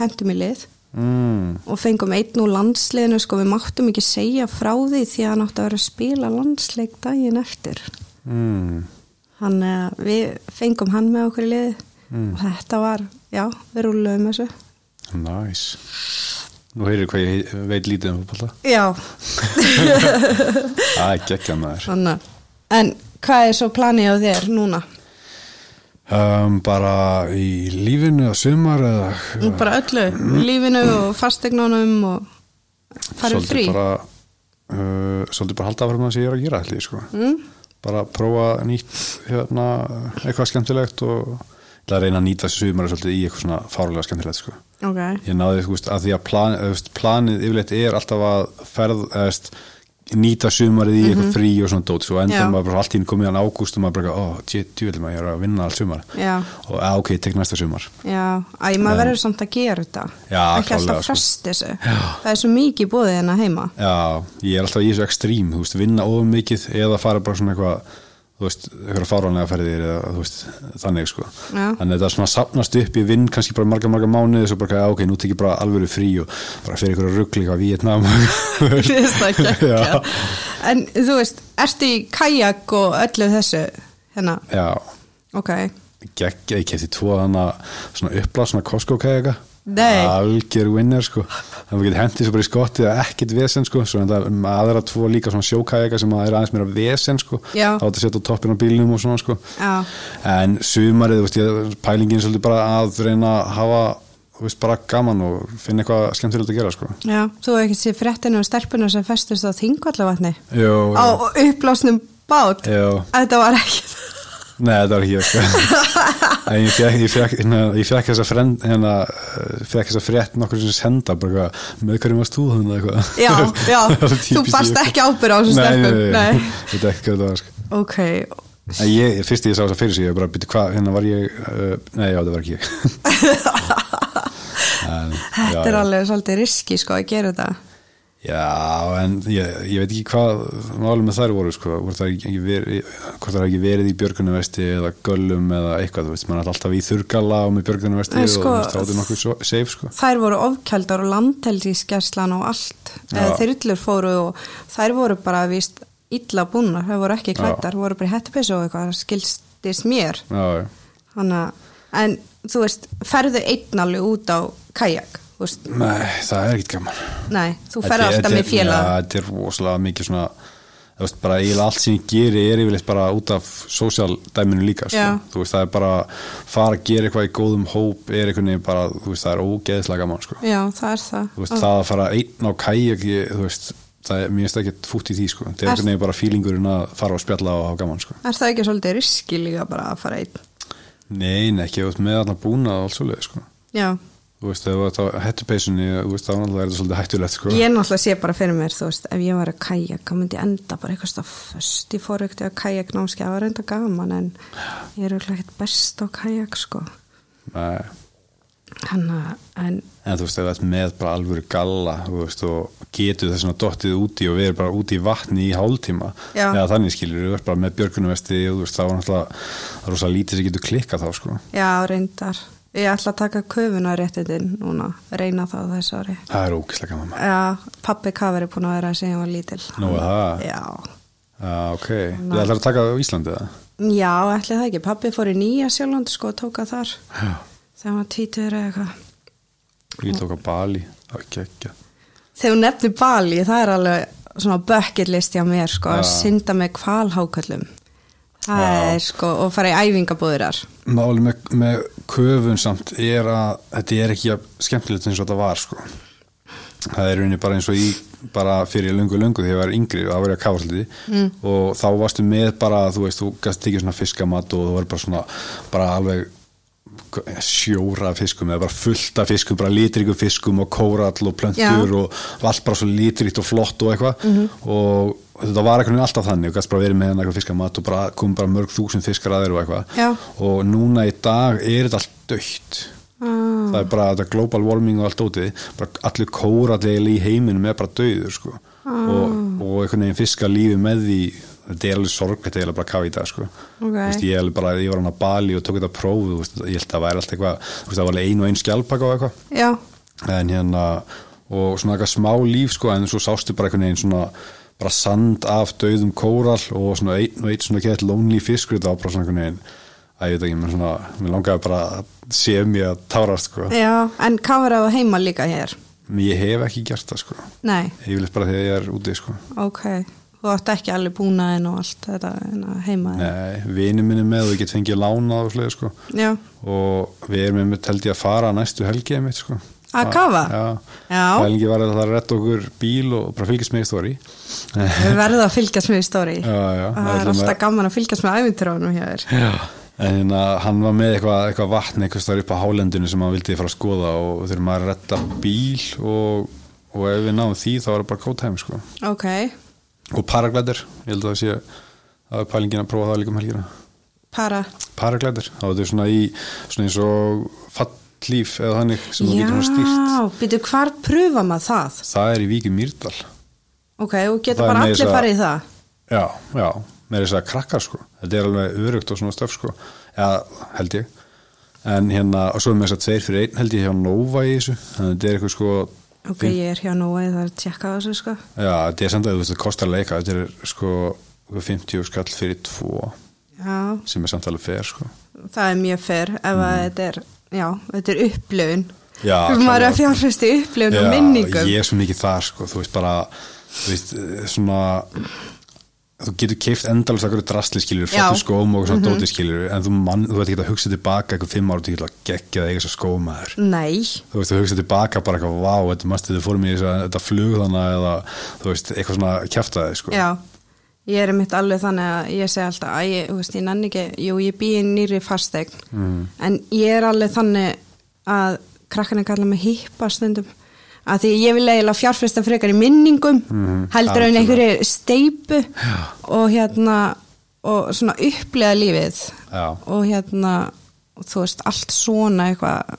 hendum í lið mm, og fengum einn úr landsliðinu sko við máttum ekki segja frá því því að hann átti að vera að spila landsleik daginn eftir mm, hann, eh, við fengum hann með okkur í liði Mm. og þetta var, já, við rúluðum þessu nice nú heyrðu hvað ég he- veit lítið um hópla já, Það er geggja maður þannig en Hvað er svo planið á þér núna? um, bara í lífinu eða sumar eða Nú Bara öllu, lífinu og fastegnunum og farið frí bara, uh, svolítið bara halda áfram að það sem ég er að gera allir sko. mm. bara prófa nýtt hérna, eitthvað skemmtilegt og ég ætla að reyna að nýta þessu sumar svolítið í eitthvað svona fárlega skemmtilegt sko. Ok, ég náði þú veist, að því að plan, þú veist, planið yfirleitt er alltaf að ferð eða, þú veist, nýta sumarið í eitthvað frí og svona dót svo Mhm. Já. endur maður bara allt í enn komið án ágúst og maður bara, ó, djúvel maður, ég er að vinna allt sumar Já. og "Ah, ok, tek næsta sumar já, æ, maður verður samt að gera þetta Já, Ekki alltaf klárlega, að sko. fresta þessu Það er svo mikið búið hérna heima Já, ég er alltaf í þessu ekstrím, þú veist, vinna ofum mikið eða fara bara svona eitthvað, þú veist, eitthvað fáránlega ferðir eða, þú veist, þannig, sko. Já. Þannig að þetta svona sapnast upp, ég vinn kannski bara marga, marga mánuði, svo bara, já, ok, nú tek ég bara alvöru frí og bara fyrir eitthvað ruggli eitthvað Vietnam. Þú veist það ekki Já. En þú veist, ertu í kajak og öllu þessu hérna, já, ok geggja, ég kefti tvo þannig að svona uppblás, svona Costco kæga. Nei. Algjör winner, sko. Þannig að við getum hendið svo bara í skottið að ekkit vesen, sko. Svo en það aðra tvo líka svona sjókæga sem að er aðeins meira vesen, sko. Já. Þá átti að setja á toppin á bílnum og svona, sko. Já, en sumarið, þú veist, ég, pælingin er svolítið bara að reyna að hafa þú veist, bara gaman og finna eitthvað skemmtilegt að gera sko. já, þú hefur ekki séð fréttinu og stelpuna sem festust á þingvallavatni Jó, á upplásnum bát Já. Þetta var ekki Nei, þetta var ekki ég, sko. En ég fekk, ég fekk, hérna, ég fekk þessa frend, hérna, eh, fekk þessa frétt nokkur sem senda, bara eitthvað, með hverjum varst þú þannig eitthvað. Já, já, Það var þú típist barst ég, sko. ekki ábyrð á þessum Nei, Nei, stelpum nei, nei, ég veit ekki hvað það var, sko. Ok, En ég, fyrst ég sá þess að fyrir sig, ég bara byrja hvað, hérna var ég, uh, nei, já, það var ekki ég. en, já, þetta er já. alveg svolítið riski sko að gera þetta Já, en ég, ég veit ekki hvað málum með þær voru, sko, hvort það ekki verið, hvort það hafi ekki verið í björgunarvesti eða göllum eða eitthvað, þú veist, maður er alltaf í þurrgala og með björgunarvesti En og sko- þú veist, áttu nokkuð svo, safe, sko. Þær voru ofkjaldar og landhelgiskerslan og allt Já. eða þyrlur fóru og þær voru bara víst illa búnar, þær voru ekki Já. klættar voru bara í hettupissu og eitthvað, það skilstist mér Já, já. Hanna, en þú veist, ferðu einn alveg út á kajak þú veist, Nei, það er ekkit gaman. nei, þú Þetta er- ferðu alltaf þetta er- með félag Já, þetta er rosalega mikið svona þú veist, bara eiginlega allt sem ég geri er yfirleitt bara út af sósjaldæminu líka sko. Já. þú veist, það er bara fara að gera eitthvað í góðum hóp er einhvern veginn bara, þú veist, það er ógeðslega gaman sko. já, það er það þú veist, það að fara einn á kæjak ég- þú veist, það er mér finnst ekkert fútt í því sko, það er einhvern veginn bara fílingurinn að fara og spjalla og hafa gaman sko Ah, er það ekki svolítið riski líka bara að fara einn nei, nei, ekki, þú veist, með allan búna og alls svoleið sko, já, þú veist, ef þú ert á hettupeysunni, þú veist, þá náttúrulega er þetta svolítið hættulegt sko, ég náttúrulega sé bara fyrir mér þú veist, ef ég var að kajak, þá myndi ég enda bara eitthvað stöfust, ég fór ekkert að kajak námskeið, það var reynda gaman en ég er auðvitað ekkert best á kajak sko, nei hann að en, en þú veist, ef þú ert með bara alvöru galla þú veist, og getur þess að dottið úti og verið bara úti í vatni í hálftíma Já. eða þannig skilur, þú ert bara með björgunumvesti og þú veist, þá er náttúrulega rosa lítið sem getur klikkað þá sko, já, reyndar ég ætla að taka köfunaréttindin núna, reyna það á þessu ári það er ógeðslega gaman Já, pappi kafar er búin að vera að segja hann var lítil. Nú, er það, Já. ah, ok, það ætlar að taka á Íslandi það? Já, ætli það ekki. Pappi fór í nýja sjálfland sko og tóka þar þegar hann var tvítur eða eitthvað. Ég tók á Bali, það var geggja. Þegar hún nefnir Bali, það er alveg svona bucket list hjá mér sko að Já. synda með kvalháköllum. Það Já. er sko, og fara í æfingabúðurar. Máli með, með köfun samt er að þetta er ekki jafn skemmtilegt eins og þetta var sko. Það er rauninni bara eins og í bara fyrir löngu löngu þegar ég var yngri og það var ég að kafa svolítið mm. og þá varstu með bara, þú veist, þú gæst tekið svona fiskamat og þú var bara svona bara alveg sjóra af fiskum eða bara fullt af fiskum, bara litrikum fiskum og kórall og plöntur Já. og allt bara svo litrikt og flott og eitthvað og þetta var einhvern veginn alltaf þannig og gæst bara verið með einhvern fiskamat og bara kom bara mörg þúsund fiskar að þér og eitthvað Já. og núna í dag er þetta allt dögt Ah, það er bara þetta global warming og allt ótið bara allir kórallegil í heiminum er bara döður sko og, Ah. og einhvern veginn fiska lífi með því þetta er alveg sorg, þetta er alveg bara kafa í dag sko Ok. Þú veist, ég, er alveg bara, ég var hann á Bali og tók þetta prófi þú veist, ég held að það væri alltaf eitthvað þú veist, það var alveg ein og ein skjálpaka og eitthvað já, en hérna og svona eitthvað smá líf sko en svo sástu bara einhvern veginn svona bara sand af dauðum kóral og svona einn og einn svona gett lonely fiskur þetta var bara svona einhvern veginn að ég veit ekki, mér svona, mér langaði bara að sé mér að tárast sko já, en kafar á heima líka hér. ég hef ekki gert það sko Nei, ég vil bara þegar ég er úti sko ok, þú átt ekki alveg búnaðin og allt þetta hérna, heima Nei, vinið minni með og ég get fengið lánað og slega sko já, og við erum einmitt held ég að fara næstu helgið mitt sko Að kafa? Já, Já. Pælingi var að það retta okkur bíl og bara fylgjast með í stóri við verðum að fylgjast með í stóri Já, já, það ætlum er alltaf að- gaman að fylgjast með æfinturónum hjá þér Já En hérna, hann var með eitthvað, eitthvað vatn eitthvað stöður upp á hálendinu sem hann vildi fara að skoða og við þurfum að retta bíl og, og ef við náum því þá er það bara kótæmi sko. ok, og paraglæder, ég held að það sé það er pælingin að prófa það líka um helgina para paraglæder, þá er þetta svona í svona eins og fallíf eða þannig sem þú getur hann stýrt já, býtu hvar pröfa maður það það er í Víki Mýrdal ok, og getur Það er bara meira allir svo- farið í það já, já, með þess að krakkar sko þetta er alveg örugt og svona stöf sko já, held ég en hérna, og svo er með þess að tveir fyrir einn held ég hjá Nova í þessu, þannig að þetta er eitthvað sko ok, ég er hjá Nói, það er að tjekka á þessu sko já, þetta er samt að þú veist, þetta kostar leika þetta er sko 50 skall fyrir tvo já, sem er samt alveg fer sko það er mjög fyrr ef að þetta er, já, þetta er upplöfun Mm. Já, maður er klárlega. að fjárfæstu upplöfun og Já, minningum ég er svo mikið þar sko, þú veist bara þú veist, eh, svona þú getur keift endalast akkur drastli skilur, Já. flottu skóm og svona dóti skilur en þú, mann, þú veit ekki að hugsa tilbaka eitthvað fimm ára til að gegja það eiga svo skómaður nei, þú veist, þú hugsa tilbaka bara eitthvað vá, þetta mæstu þið fórum í þess að þetta flug þannig eða þú veist, eitthvað svona kjaftaði sko. já ég er mitt alveg þannig að ég segi alltaf að ég, þú veist, ég nann ekki, jú, ég býi nýri fastegn, mm. en ég er alveg þannig að krakkarnir kalla mig hippa stundum að því ég vil eiginlega fjárfæsta frekar í minningum heldur en Mm, algjörlega. einhverju steipu og hérna og svona upplega lífið Já. og hérna og þú veist allt svona eitthvað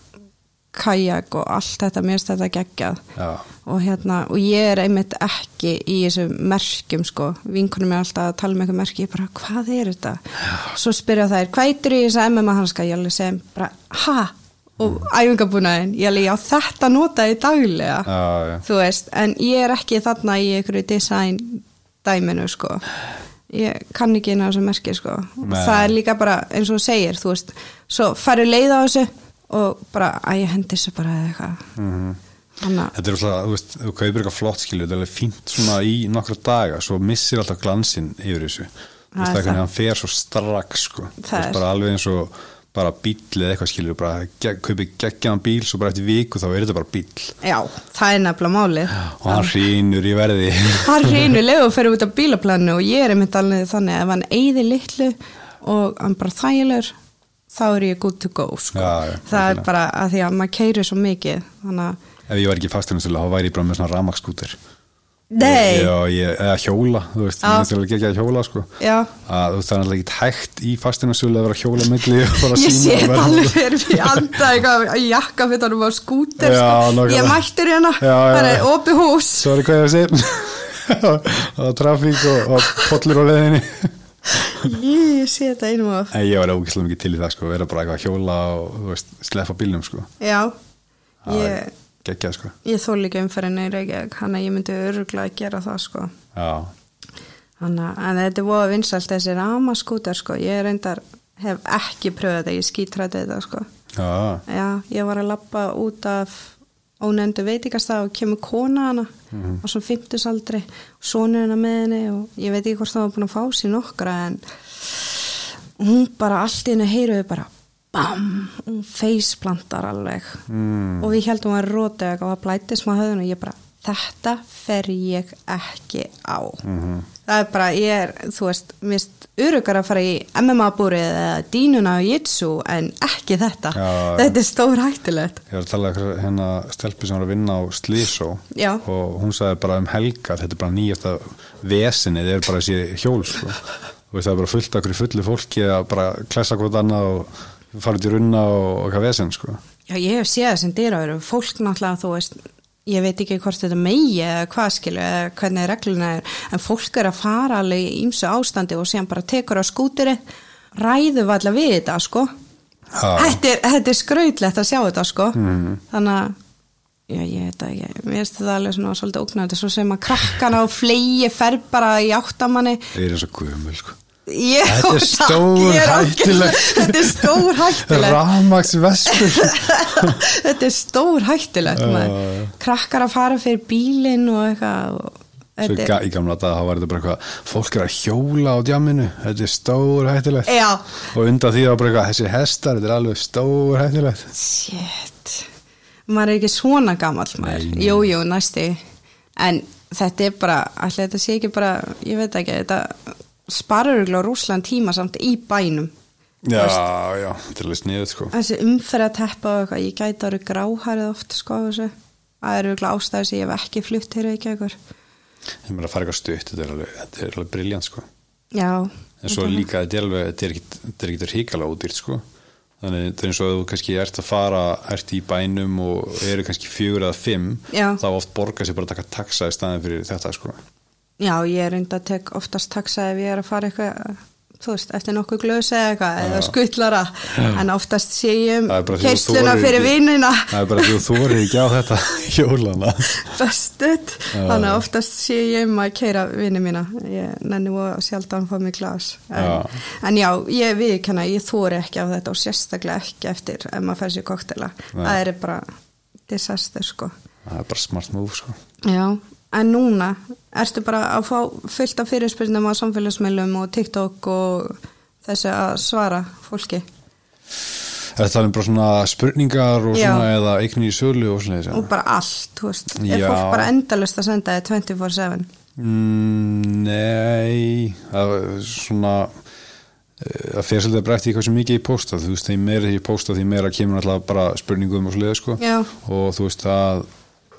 kajak og allt þetta mér finnst þetta geggjað Já. og hérna og ég er einmitt ekki í þessum merkjum sko, vinkunum er alltaf að tala um eitthvað merki, ég bara hvað er þetta svo spyrja þær, hvað eitir í þess að MMA hanska, ég alveg sem bara ha og æfingabúnaðin, ég alveg já þetta nota ég daglega Já, já. þú veist, en ég er ekki þarna í einhverju design dæminu sko ég kann ekki inn á þessu merki sko Og Nei. það er líka bara eins og þú segir þú veist, svo færðu leið á þessu og bara, að ég hendi þessu bara eða eitthvað mm Mhm. -hmm. Þannig, Þetta er alltaf, þú veist, þú kaupir eitthvað flott skilur, þetta er alveg fínt svona í nokkra daga svo missir alltaf glansinn yfir þessu þú veist Það er það er hvernig það. hann fer svo strax sko, þú Það er- veist bara alveg eins og bara bíl eða eitthvað skilur, bara geg, kaupir geggjaðan bíl, svo bara eftir viku þá er þetta bara bíl já, það er nefnilega málið og hann hrýnur í verði hann reynu leið og fer út á bílaplanu og ég er einmitt alveg þannig ef hann eyði litlu og hann bara þægilegur þá er ég good to go sko. Já, já, það er algjörlega. bara að því að maður keyrir svo mikið þannig að, ef ég var ekki fastegnarsölu, þá væri ég bara með svona ramakskúter nei Já, ég, eða hjóla, þú veist, Já. ég veist alveg geggjað hjóla sko Já. að þú veist það er alltaf ekki hægt í fastegnarsölu að vera að hjóla milli og bara Ég sýna sé og þetta verða- alveg fyrir mig anda eitthvað í jakkafitanum á skúter Já, sko. nákvæmlega. ég mættur hérna, Já, já, það já. er opið hús Sorry hvað ég var að segja Það var trafík og, og pollur á leiðinni Ég sé þetta einum af En ég var ógæslega mikið til í það sko Verða bara eitthvað að hjóla og þú veist, sleppa bílnum sko Já, Það var ég, Geggjað sko ég þóli ekki umferðinni í Reykjavík hann að ég myndi öruglega að gera það sko Já, Hanna, en þetta er voða vinsalt þessi ramaskúter sko, ég reyndar hef ekki pröfað þetta, ég skítræði þetta sko. já, Já, ég var að lappa út af ónefndu veitingastaf og kemur kona hana á svona fimmtusaldri og sonur hennar með henni og ég veit ekki hvort það var búin að fá sér nokkra en hún bara allt í hennu heyruði bara bam, hún feisplantar alveg Hmm. mm. og við heldum að hún var rótið og það blætti smá höfðun og ég bara þetta fer ég ekki á Mhm. -hmm. það er bara, ég er þú veist, mist urugar að fara í MMA-búrið eða dínuna og jitsu en ekki þetta Já, já. þetta er stór hættilegt ég var að tala um hérna stelpu sem var að vinna á Slysó Já. og hún sagði bara um helgar þetta er bara nýjasta vesinni þetta er bara þessi hjól sko og það er bara fullt okkur í fullu fólki að bara klessa hvort annað og fara út í runna og, og hvað vesinn sko Já, ég hef séð þessum dýraveru, fólk náttúrulega, þú veist, ég veit ekki hvort þetta megi eða hvað skilu eða hvernig regluna er, en fólk er að fara alveg í ýmsu ástandi og síðan bara tekur á skúteri, ræðu valla við þetta, sko. Já. Mhm. Þetta er, þetta er skrautlegt að sjá þetta, sko. Þannig að, já, ég veit það ekki, mér finnst þetta alveg svona svolítið ógnandi, svo sem að krakkana og flegi fer bara í áttamanni. Ég er eins og guðumul sko Ég, Þetta er Takk, stór ég er hættulegt. algjörlega- Þetta er stór hættilegt. Ramax vespur þetta er stór hættilegt Já, maður. já. krakkar að fara fyrir bílinn og eitthvað og Svo Þetta- ga, í gamla dag þá var þetta bara eitthvað fólk er að hjóla á djaminu, þetta er stór hættilegt Já. og undan því var bara eitthvað þessi hestar, þetta er alveg stór hættilegt Shit Maður er ekki svona gamall maður Nei. Jú, jú, næsti En þetta er bara, allir þetta sé ekki bara Ég veit ekki, þetta sparar örugglega rússlan tíma samt í bænum Já, já, þetta er alveg sniðið sko Þessi umferð að teppa og eitthvað Ég gæti árið gráhærið oft, sko af þessu. Það eru örugglega ástæður sem ég hef ekki flutt til Reykjavíkur Ég meina að fara eitthvað stutt, þetta er alveg, þetta er alveg briljant sko Já En svo líka, þetta er alveg, þetta er ekkit- þetta er ekkit hrikalega útýrt sko Þannig það er eins og ef þú kannski ert að fara, ert í bænum og eru kannski fjögur eða fimm Já. þá oft borgar sér bara að taka taxa í staðin fyrir þetta sko Já, ég er reynd að tek oftast taxa ef ég er að fara eitthvað þú veist, eftir nokkuð glösa eða eitthvað eða skuttlara, en oftast sé ég um Það er bara því þú keisluna þorir fyrir ekki- vinnina Það er bara því þú þórið ekki á þetta hjólana bestuð, þannig að oftast sé ég um að keira vinni mína ég nenni og sjaldan fá mig glas en, Já. en já, ég viðkenna ég þóri ekki á þetta og sérstaklega ekki eftir ef maður fær sér koktela Nei. það er bara disaster sko Það er bara smart move sko já, en núna ertu bara að fá fullt af fyrirspyrnum á samfélagsmiðlum og TikTok og þessu að svara fólki Þetta er um bara svona spurningar og Já. svona eða eignin í sölu og svona og þessi bara allt, þú veist er Já. fólk bara endalust að senda þér 24-7 mm, Nei það er svona eh, það fer svolítið að breytta í hversu mikið ég posta þú veist, þeim meira ég posta því meira kemur alltaf bara spurningum og svona sko. Já. og þú veist að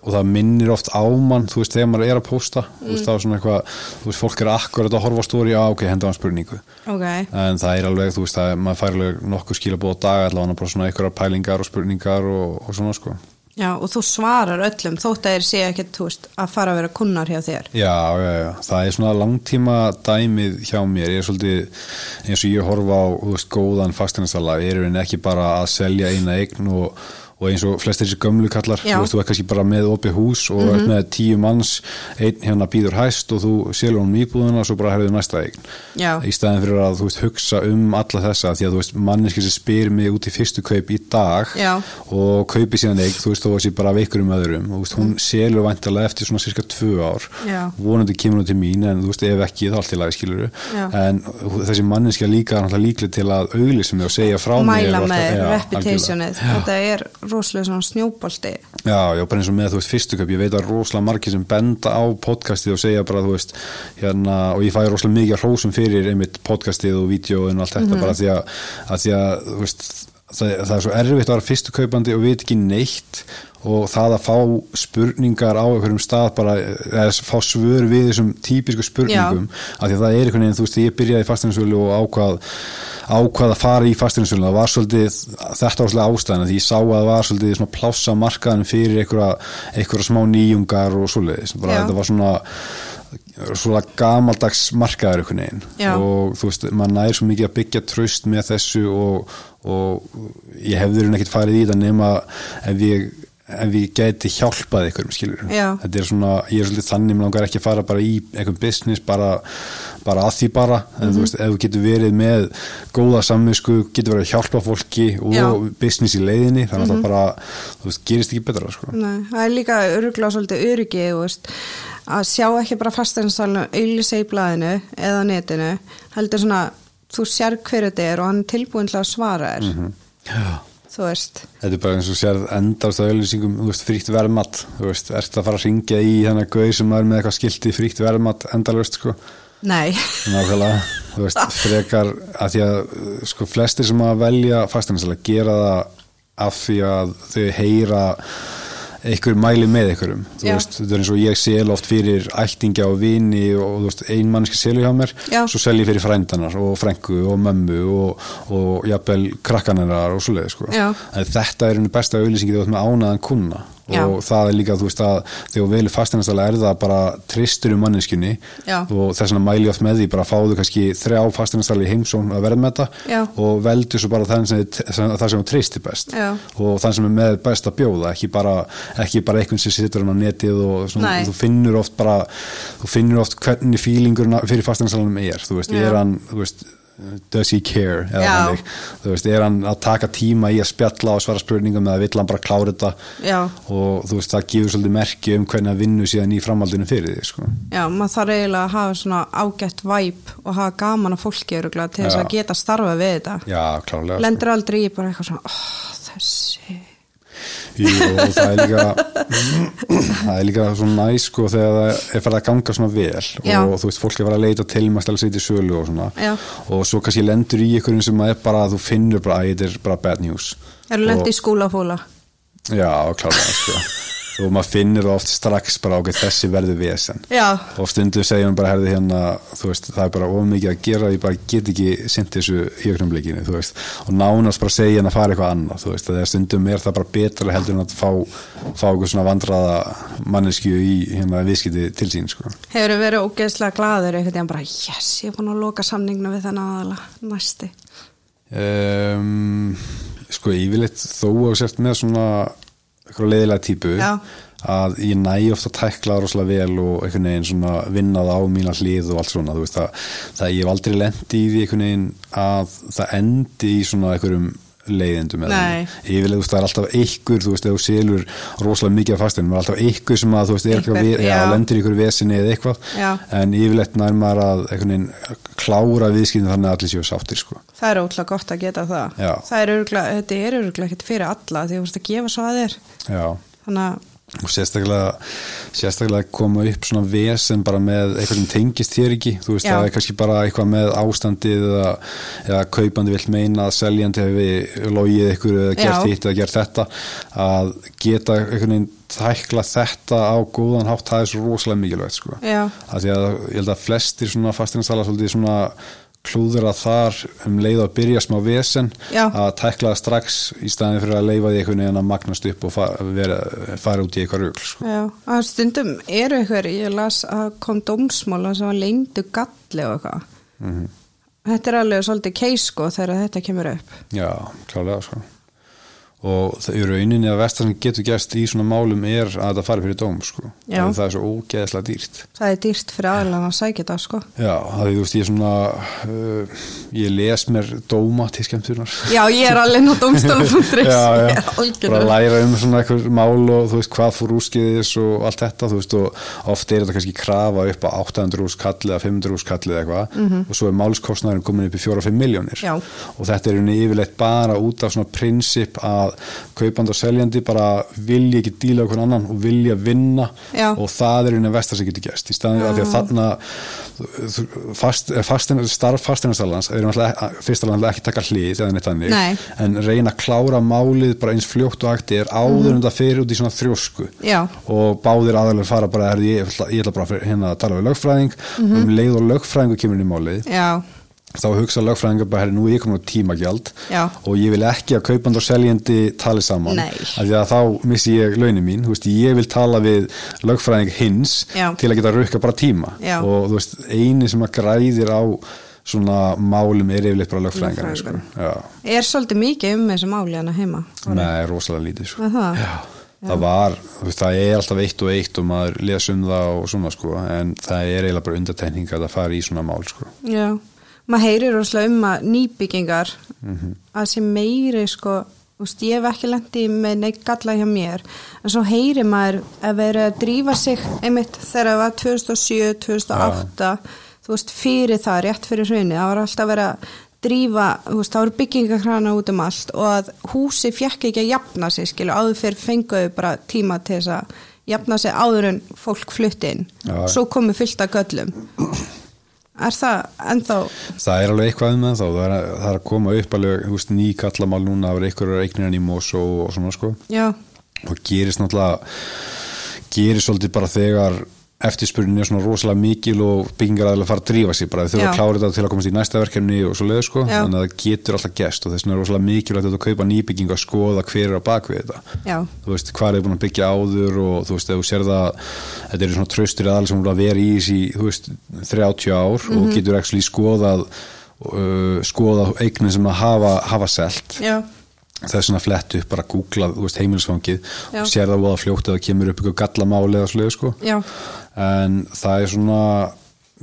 og það minnir oft á mann, þú veist, þegar maður er að posta þú Mm. veist, það er svona eitthvað, þú veist, fólk er akkurat að horfa á stóri, já, ok, henda hann spurningu ok, en það er alveg, þú veist að maður fær alveg nokkuð skilabóð á dag allavega bara svona einhverjar pælingar og spurningar og, og svona sko Já, og þú svarar öllum þótt að þér sé ekkert, þú veist, að fara að vera kunnar hjá þér. já, já, já, það er svona langtíma dæmið hjá mér ég er svolítið, eins og ég horfa á þú veist, góðan fastinastala, ég er en ekki bara að selja eina eign og og eins og flestir þessi gömlu kallar Já. Mhm. þú veist, þú er kannski bara með opið hús og mm -hmm. með tíu manns, einn hérna býður hæst og þú selur honum íbúðuna og svo bara herðu næsta eign Já. í staðin fyrir að þú veist hugsa um alla þessa því að þú veist manneski sem spyr mig út í fyrstu kaup í dag Já. og kaupi síðan eign, þú veist þó að sé bara af einhverjum öðrum, þú veist hún selur væntalega eftir svona cirka tvö ár Já. vonandi kemur hún til mín en þú veist ef ekki þá allt í lagi skilur Já. en þessi manneski líka er náttúrulega líklega til að auglýsa mig og segja frá mig Mæla og alltaf- með þér, já, reputationið, algjörlega. þetta er rosalega svona snjóbolti. Já, já, bara eins og með, þú veist, fyrstu köp, ég veit að rosalega margir sem benda á podcastið og segja bara, þú veist, hérna, og ég fæ rosalega mikið hrósum fyrir einmitt podcastið og vídjóin og allt Mhm. þetta, bara því að, að því að, þú veist, það, það er svo erfitt að vera fyrstu kaupandi og veit ekki neitt og það að fá spurningar á einhverjum stað bara, eða fá svör við þessum típisku spurningum, af því að það er einhvern veginn, þú veist, ég byrjaði í fastinansölu og ákvað, ákvað að fara í fastinansölu það var svolítið, þetta var svolítið ástæðan því ég sá að það var svolítið svona plássa markaðan fyrir einhverja, einhverja smá nýjungar og svoleiðis, bara Já. þetta var svona svona gamaldags markaður einhvern veginn Já. og þú veist, maður nær svo mikið að byggja tröst með þessu og, og ég hefði hún ekkert farið í þetta nema ef ég ef ég gæti hjálpað einhverjum skilur Já. þetta er svona, ég er svolítið þannig mér langar ekki að fara bara í einhverjum business bara, bara að því bara en þú veist, ef þú getur verið með góða samvisku, getur verið að hjálpa fólki og Já. business í leiðinni þannig að það bara, þú veist, gerist ekki betra sko. Nei, það er líka öruglega svolítið öryggi, þú veist, að sjá ekki bara fastegnsalunum auðlýsa í blaðinu eða netinu, heldur svona, þú sér hverju þetta er og hann er tilbúin til að svara þér, Mhm. Já þú veist. Þetta er bara eins og sér endast að auðlýsingum, þú veist, fríkt verðmatt, þú veist, ert að fara að ringja í þennan gauð sem er með eitthvað skilti fríkt verðmatt endalust, sko, Nei, nákvæmlega, þú veist, frekar, að því að, uh, sko, flestir sem að velja fastegnasala gera það af því að þau heyra einhver mæli með einhverjum, þú Já. veist, þetta er eins og ég sel oft fyrir ættingja og vini og, þú veist, ein mannski selu hjá mér, Já. svo sel ég fyrir frændanar og frængu og mömmu og, og jafnvel krakkanarar og svoleiði, sko Já. en þetta er einu besta auðlýsingi þegar þú ert með ánaðan kuna Já. og það er líka, þú veist að þegar þú velur fastinastala er það bara tristur um manneskunni Já. og þess vegna mæli ég oft með því bara fáðu kannski þrjá fastinastala í heimsón að verða með Já. þetta og veldu svo bara þann sem, þið- sem, það sem þú tristir best Já. og þann sem er með best að bjóða ekki bara, ekki bara einhvern sem situr hann á netið og svona, Nei. þú finnur oft bara, þú finnur oft hvernig fílingurna fyrir fastinastalunum er, þú veist, Já. er hann, þú veist does he care eða Já. þannig. þú veist, er hann að taka tíma í að spjalla og svara spurningum eða vill hann bara klára þetta Já. og þú veist, það gefur svolítið merki um hvernig að vinnu síðan í framhaldinu fyrir því sko. Já, maður þarf eiginlega að hafa svona ágætt væp og hafa gaman að fólki öruglega til þess Já. að geta starfa við þetta. já, klárlega sko. Lendur aldrei í bara eitthvað svona, oh, þessi. Jú, og það er líka það er líka svona næ sko þegar það er farið að ganga svona vel Já. og þú veist, fólk er farið að leita til maður stæla sér til sölu og svona Já. og svo kannski lendur í einhverjum sem er bara að þú finnur bara að þetta er bara bad news Eru Og- lendi í skúlafóla? Já, klálega sko og maður finnir það oft strax bara okkur þessi verður vesen Já. og stundu segjum bara herði hérna þú veist, það er bara of mikið að gera ég bara get ekki sint þessu í augnumleikinu þú veist, og nánast bara segja hann að fara eitthvað annað, þú veist, þegar stundum er það bara betra heldur en að fá, fá eitthvað svona vandraða manneskju í hérna viðskipti til sín, sko Hefur verið ógeðslega glaður einhvern veginn bara, yes, ég er búin að loka samningna við þennan aðala, næsti. um, sko, yfirleitt þó að sért með svona eitthvað leiðilega típu Já. að ég næ ofta að tækla það rosalega vel og einhvern veginn svona vinna það á mína hlið og allt svona, þú veist það, það ég hef aldrei lendi í því einhvern veginn að það endi í svona einhverjum leiðindum eða Nei. þannig. yfirleitt, þú veist, það er alltaf einhver þú veist, ef þú selur rosalega mikið af fastein það er alltaf einhver sem að, þú veist, er eitthvað Einhver, við, já, já. lendir í einhverju vesinni eða eitthvað Já. en yfirleitt nær maður að einhvern veginn klára viðskiptin þannig að allir séu sáttir, sko Það er ótrúlega gott að geta það. Já. Það er öruglega, þetta er öruglega ekkert fyrir alla því að þú vorst að gefa svo að þér. Já, Þannig að, og sérstaklega, sérstaklega koma upp svona vesen bara með eitthvað sem tengist hér ekki, þú veist Já. það er kannski bara eitthvað með ástandið eða, eða kaupandi vill meina að seljandi hefur logið ykkur eða gert Já. hitt eða gert þetta að geta einhvern veginn tækla þetta á góðan hátt það er svo rosalega mikilvægt sko Já. að því að ég held að flestir svona fastinastala svolítið svona klúður að þar um leið að byrja smá vesen Já. að tækla það strax í staðin fyrir að leifa því einhvern veginn að magnast upp og fa vera, fara út í eitthvað rugl sko. já, að stundum eru ykkur, ég las að kom dómsmála sem var leyndu galli og eitthvað. Þetta er alveg svolítið keis sko þegar þetta kemur upp. Já, klálega sko. og það eru eininni að versta sem getur gæst í svona málum er að þetta fari fyrir dóm sko. Já. Að það er svo ógeðslega dýrt Það er dýrt fyrir aðalan að sækja það sko. Já, það er þú veist ég svona uh, ég les mér dóma til skemmtunar Já, ég er alveg nú dómstóla.is. já, Ég já. er algjörlega- bara læra um svona eitthvað mál og þú veist hvað fór úrskiðis og allt þetta þú veist og oft er þetta kannski krafa upp á 800 úrskall eða 500 úrskall eða eitthvað og svo er málskostnaðurinn komin upp í 4-5 miljónir Mhm. Já. og þetta er unni yfirleitt bara út af svona prinsip að kaupand og seljandi bara vilja ekki díla okkur annan og vilja vinna Já. og það er unni vestar sem getur gæst í staðin af því að þarna þú- fast, fastin, starf fastinastalans er náttúrulega- fyrst alveg ekki að taka hlið eða neitt þannig Nei. en reyna að klára málið bara eins fljótt og akti er áður en það fer út í svona þrjósku Mhm. Já. og báðir aðalega fara bara "Herðu, ég ætla, ég ætla bara fyrir- hérna að tala við lögfræðing Mhm. um leið og lögfræðingu kemur inn í málið Já, þá hugsa lögfræðingar bara "Herðu, nú er ég komin á tímagjald Já. og ég vil ekki að kaupand og seljandi tali saman Nei. af því að þá missi ég launin mín þú veist, ég vil tala við lögfræðing hins Já. til að geta rukka bara tíma Já. og þú veist, eini sem að græðir á svona málum er yfirleitt bara lögfræðingar sko. Lögfræðingarnir. Já. er svolítið mikið um þessi máli hana heima. Nei, rosalega lítið sko. Er það? Já, það var, þú veist, það er alltaf eitt og eitt og maður les um það og svona sko en það er eiginlega bara undartekning að það fari í svona mál sko. Já, maður heyrir rosalega um að nýbyggingar að sem meiri sko, úst, ég hef ekki lendi með neitt galla hjá mér en svo heyrir maður að vera að drífa sig einmitt þegar það var 2007, 2008 þú veist, fyrir það, rétt fyrir hraunni það var alltaf verið að drífa þú veist, það voru byggingakrana út um allt og að húsi fjekk ekki að jafna sig skilu, áður fyrir fenguðu bara tíma til þess að jafna sig áður en fólk flutt inn, Já. svo komu fyllt að göllum Er það ennþá, Það er alveg eitthvað með þá, það er, að- það er að koma upp alveg, þú veist, ný kallamál núna það er einhverjar eignirinn í mós og, og svona sko já, og gerist náttúrulega gerist svolítið bara þegar eftirspurnin er svona rosalega mikil og byggingar aðlega fara að drífa sér bara þau þurfa Já. að klára þetta til að komast í næsta verkefni og svo leður sko, Já. þannig að það getur alltaf gest og þess vegna er rosalega mikilvægt að þú kaupa nýbygging og skoða hver er á bakvið þetta já, þú veist, hvað er þið búin að byggja áður og þú veist, ef þú sér það þetta eru svona traustir aðal sem voru að vera í þessi þú veist, 30 ár Mhm. og getur actually skoðað uh, skoðað eignin sem að hafa, hafa selt já, það er svona flett upp bara að googla þú veist, heimilisfangið Já. og sér það voða fljótt að það kemur upp ykkur gallamáli eða slöðu sko Já. en það er svona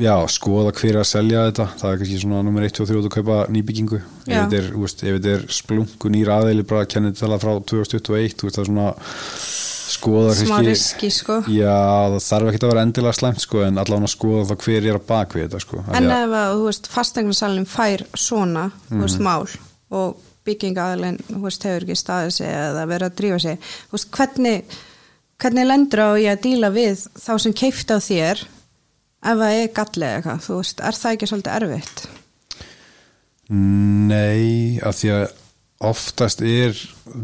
já, skoða hver er að selja þetta það er kannski svona nummer 1, 2 og 3 að kaupa nýbyggingu ef Já. þetta er, þú veist, ef þetta er splungun nýr aðeili bara að kenna þetta frá 2021 þú veist, það er svona skoða smá kannski- riski sko Já, það þarf ekki að vera endilega slæmt sko, en allan að skoða það hver er að bak við þetta sko. Af en því að- ef að, þú veist, fastegnarsalinn fær svona, þú veist, mál og byggingaðalinn, þú veist, hefur ekki staðið sig eða verið að drífa sig þú veist, hvernig, hvernig lendur á ég að díla við þá sem keifta á þér ef það er gallið eitthvað, þú veist, er það ekki svolítið erfitt? Nei, af því að oftast er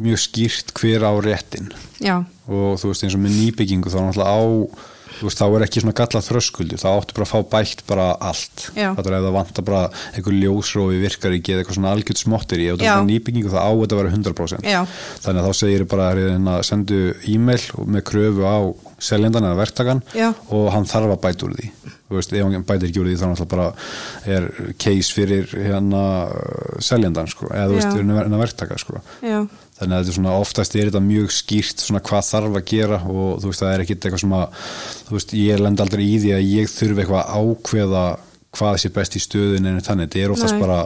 mjög skýrt hver á réttin Já, og þú veist eins og með nýbyggingu þá er náttúrulega á þú veist, þá er ekki svona gallað þröskuldu þá áttu bara að fá bætt bara allt Já. þetta er ef það vantar bara einhver ljósrófi virkar ekki eða eitthvað svona algjörn smottir í ef það Já. er bara nýbyggingu þá á þetta að vera 100% Já. þannig að þá segir þau bara hérna, sendu e-mail og- með kröfu á seljendan eða verktakan Já. og hann þarf að bæta úr því þú veist, ef hann bætir ekki úr því þá náttúrulega bara er case fyrir hérna seljendan sko, eða þú veist, Já. hérna verktaka sko já, þannig að þetta er svona oftast er þetta mjög skýrt svona hvað þarf að gera og þú veist það er ekkit eitthvað sem að þú veist ég lend aldrei í því að ég þurfi eitthvað að ákveða hvað sé best í stöðun en þannig, þetta er oftast Nei. bara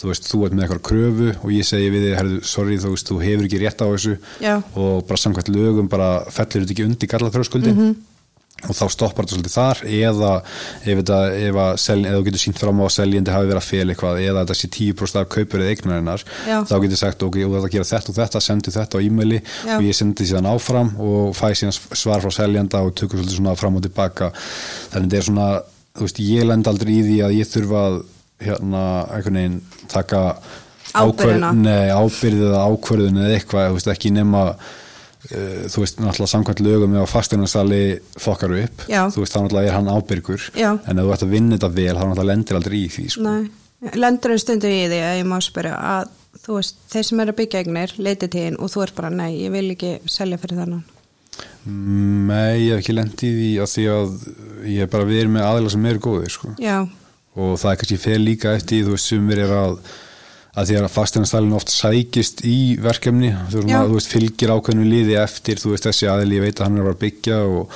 þú veist, þú ert með eitthvað kröfu og ég segi við þig, herðu, sorry, þú veist, þú hefur ekki rétt á þessu Já. og bara samkvæmt lögum bara fellir þetta ekki undir gallaþröskuldin Mhm. og þá stoppar þetta svolítið þar eða ef, þetta, ef, að sel, ef þú getur sínt fram á að seljandi hafi verið að fel eitthvað eða þetta sé 10% af kaupur eða eignarinnar Já. þá getur sagt ok, þú þarf að gera þetta og þetta sendu þetta á e-maili Já. og ég sendi síðan áfram og fæ síðan svar frá seljanda og tökur svolítið svona fram og tilbaka þannig þetta er svona, þú veist, ég lend aldrei í því að ég þurfa að hérna, einhvern veginn taka Ábyrgðina. ákvörð- nei, ábyrðið eða ákvörðun eða eitthvað, þú veist, ekki nema uh, þú veist, náttúrulega samkvæmt lögum ef að fastinarsali fokkar upp Já. þú veist, þá náttúrulega er hann ábyrgur Já. en ef þú ert að vinna þetta vel, þá náttúrulega lendir aldrei í því sko. nei lendur en stundu í því að ég má spyrja að þú veist, þeir sem eru að byggja eignir leiti til þín og þú er bara, nei, ég vil ekki selja fyrir þannan Nei, ég hef ekki lendið í því að því að ég hef bara verið með aðeila sem eru góðir sko. já, og það er kannski fer líka eftir því, þú veist sumir er að að því að fastinanstalinn oft sækist í verkefni, þú veist, Já. maður, þú veist fylgir ákveðnu liði eftir, þú veist þessi aðeil ég veit að hann er að fara að byggja og,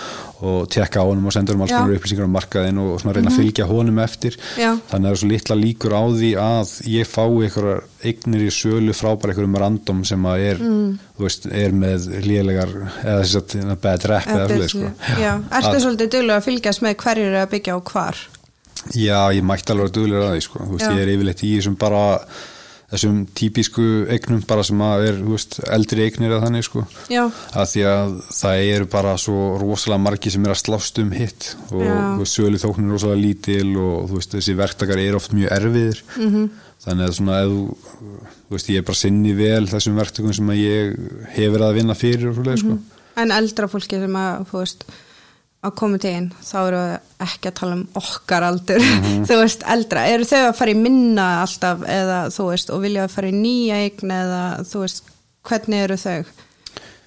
og tekka á honum og senda honum alls Já. Mhm. konar upplýsingar á markaðin og svona reyna að fylgja honum eftir Já. þannig að það er svo litla líkur á því að ég fái einhverjar eignir í sölu frá bara einhverjum random sem að er, Mm. þú veist, er með lélegar eða þess að bad rap eða Þetta er svolítið sko. svona- Já, ertu Að- svolítið duglega að fylgjast með hverjur eru að byggja og hvar? Já, ég mætti alveg að duðlega að því sko. Þú veist, Já. ég er yfirleitt í þessum bara þessum típisku eignum bara sem að er, þú veist, eldri eignir að þannig sko. Já, að því að það eru bara svo rosalega margi sem er að slást um hitt og Já. þú veist, sölu þóknir rosalega lítil og þú veist, þessi verktakar eru oft mjög erfiðir Mhm. -hmm. þannig að svona ef þú, þú veist, ég er bara sinni vel þessum verktakum sem að ég hefur að vinna fyrir og svoleið sko. en eldra fólki sem að, þú veist, að koma til einn, þá eru þau ekki að tala um okkar aldur, Mhm. þú veist, eldra. Eru þau að fara í minna alltaf eða, þú veist, og vilja að fara í nýja eign eða, þú veist, hvernig eru þau?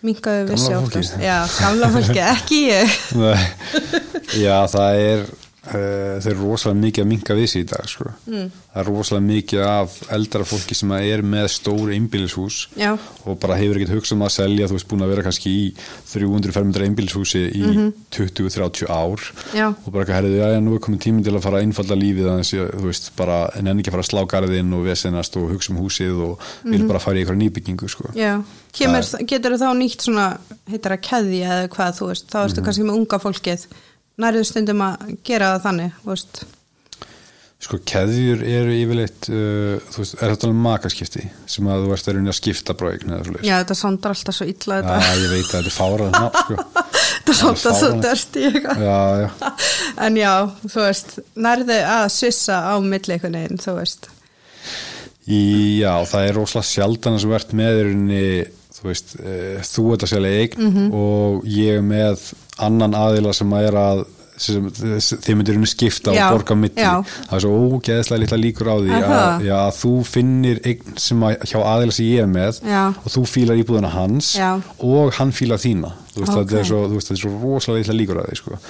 Mingaðu vissi Gamla fólkið. oftast. Já, gamla fólki, ekki ég. Nei. Já, það er uh, þeir eru rosalega mikið að minga við sig í dag sko. mm. það er rosalega mikið af eldra fólki sem að er með stór einbýlishús Já. og bara hefur ekkert hugsað um að selja þú veist búin að vera kannski í 300-500 einbýlishúsi í 20-30 ár Mhm. Já. og bara eitthvað herðið, já, já, nú er komin tíminn til að fara að einfalda lífið aðeins, ég- þú veist, bara en enn ekki að fara að slá garðinn og vesenast og hugsa um húsið og Mhm. vil bara fara í eitthvað nýbyggingu sko. Já, Kemur, getur þá nýtt svona, heitir að keðja eða hvað, þú veist, þá ertu Mhm. kannski með unga fólkið, nærðu stundum að gera það þannig, þú veist, Sko, keðjur eru yfirleitt, uh, þú veist, er þetta alveg makaskipti sem að þú ert að raunin að skipta bráðign eða svolítið. já þetta sondar alltaf svo illa Já, þetta, ég veit að þetta er fárað nafn, sko. þetta sondar svo fáránlegt. dörst í eitthvað, Já, já. en já, þú veist, nærðu að svissa á milli einhvern veginn, þú veist, Í, já, það er rosalega sjaldan að sem verðt með í rauninni, þú veist, uh, þú ert að selja eign Mhm. og ég er með annan aðila sem að er að sem, þið myndir rauninni skipta Já, og borga á milli. já. Það er svo ógeðslega litla líkur á því Aha. að, já, að þú finnir eign sem að, hjá aðila sem ég er með Já. og þú fílar íbúðuna hans Já. og hann fílar þína þú veist, Ok. okay. það er svo, þú veist, það er svo rosalega illa líkur að því sko.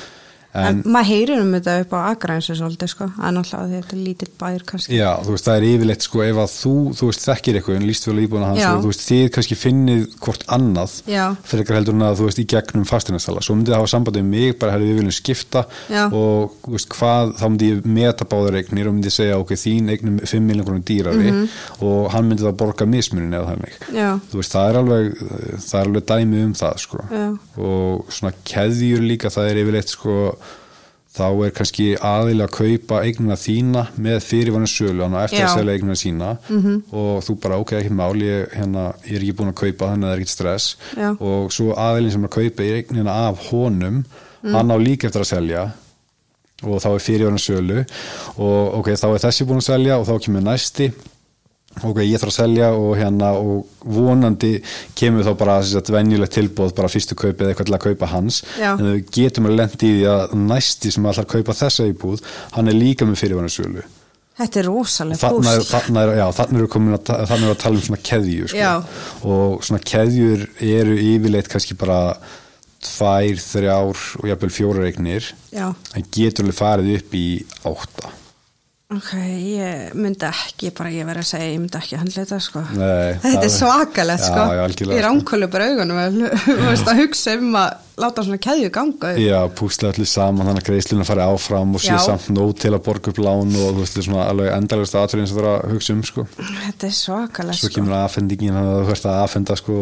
en, maður heyrir um þetta upp á agrænsu svolítið sko, en alltaf því að þetta er lítill bær kannski, Já, þú veist, það er yfirleitt sko ef að þú, þú veist, þekkir eitthvað en líst vel á íbúna hans Já. og þú veist, þið kannski finnið hvort annað Já. fyrir eitthvað heldur en að þú veist, í gegnum fastinarsala svo myndið það hafa sambandið mig, bara herri við viljum skipta Já. og þú veist, hvað þá myndi ég meta báðar eignir og myndi ég segja ok, þín eignum 5 miljonar krónum dýrari og hann myndi það borga mismunin eða þannig Mhm. Já. þú veist, það er alveg það er alveg dæmi um það sko. Já. og svona keðjur líka það er yfirleitt sko, þá er kannski aðil að kaupa eignina þína með fyrirvannu sölu hann á eftir Já. að selja eignina sína Mhm. -hmm. og þú bara ok, ekki mál ég, hérna, ég er ekki búin að kaupa þannig að það er ekkit stress Já. og svo aðilin sem er að kaupa eignina af honum Mm. hann á líka eftir að selja og þá er fyrirvannu sölu og ok, þá er þessi búin að selja og þá kemur næsti ok, ég þarf að selja og hérna og vonandi kemur þá bara sem sagt, venjulegt tilbúð, bara fyrstu kaupið eða eitthvað til að kaupa hans, Já. en við getum að lendi í því að næsti sem ætlar að kaupa þessa íbúð, hann er líka með fyrirvæðan sölu þetta er rosalega þarna er, búst þarna er, já, þarna er, komin að, ta- þarna er að tala um svona keðju sko. Já. og svona keðjur eru yfirleitt kannski bara tvær, þrjár og jafnvel fjórar eignir Já. en getur alveg farið upp í átta ok, ég myndi ekki bara ég verið að segja, ég myndi ekki að handla þetta sko Nei, það þetta er- er svakalegt Já, sko já, algjörlega, ég sko. ránkólu bara augunum að, þú veist, að hugsa um að láta svona keðju ganga upp. Já, púsla allir saman þannig að greiðsluna fari áfram og sé Já. samt nóg til að borga upp lán og þú veist, þetta er svona alveg endalegust aðtörin sem það er að hugsa um sko. þetta er svakalegt svo sko kemur aðfendingin þannig að þú ert að aðfenda sko,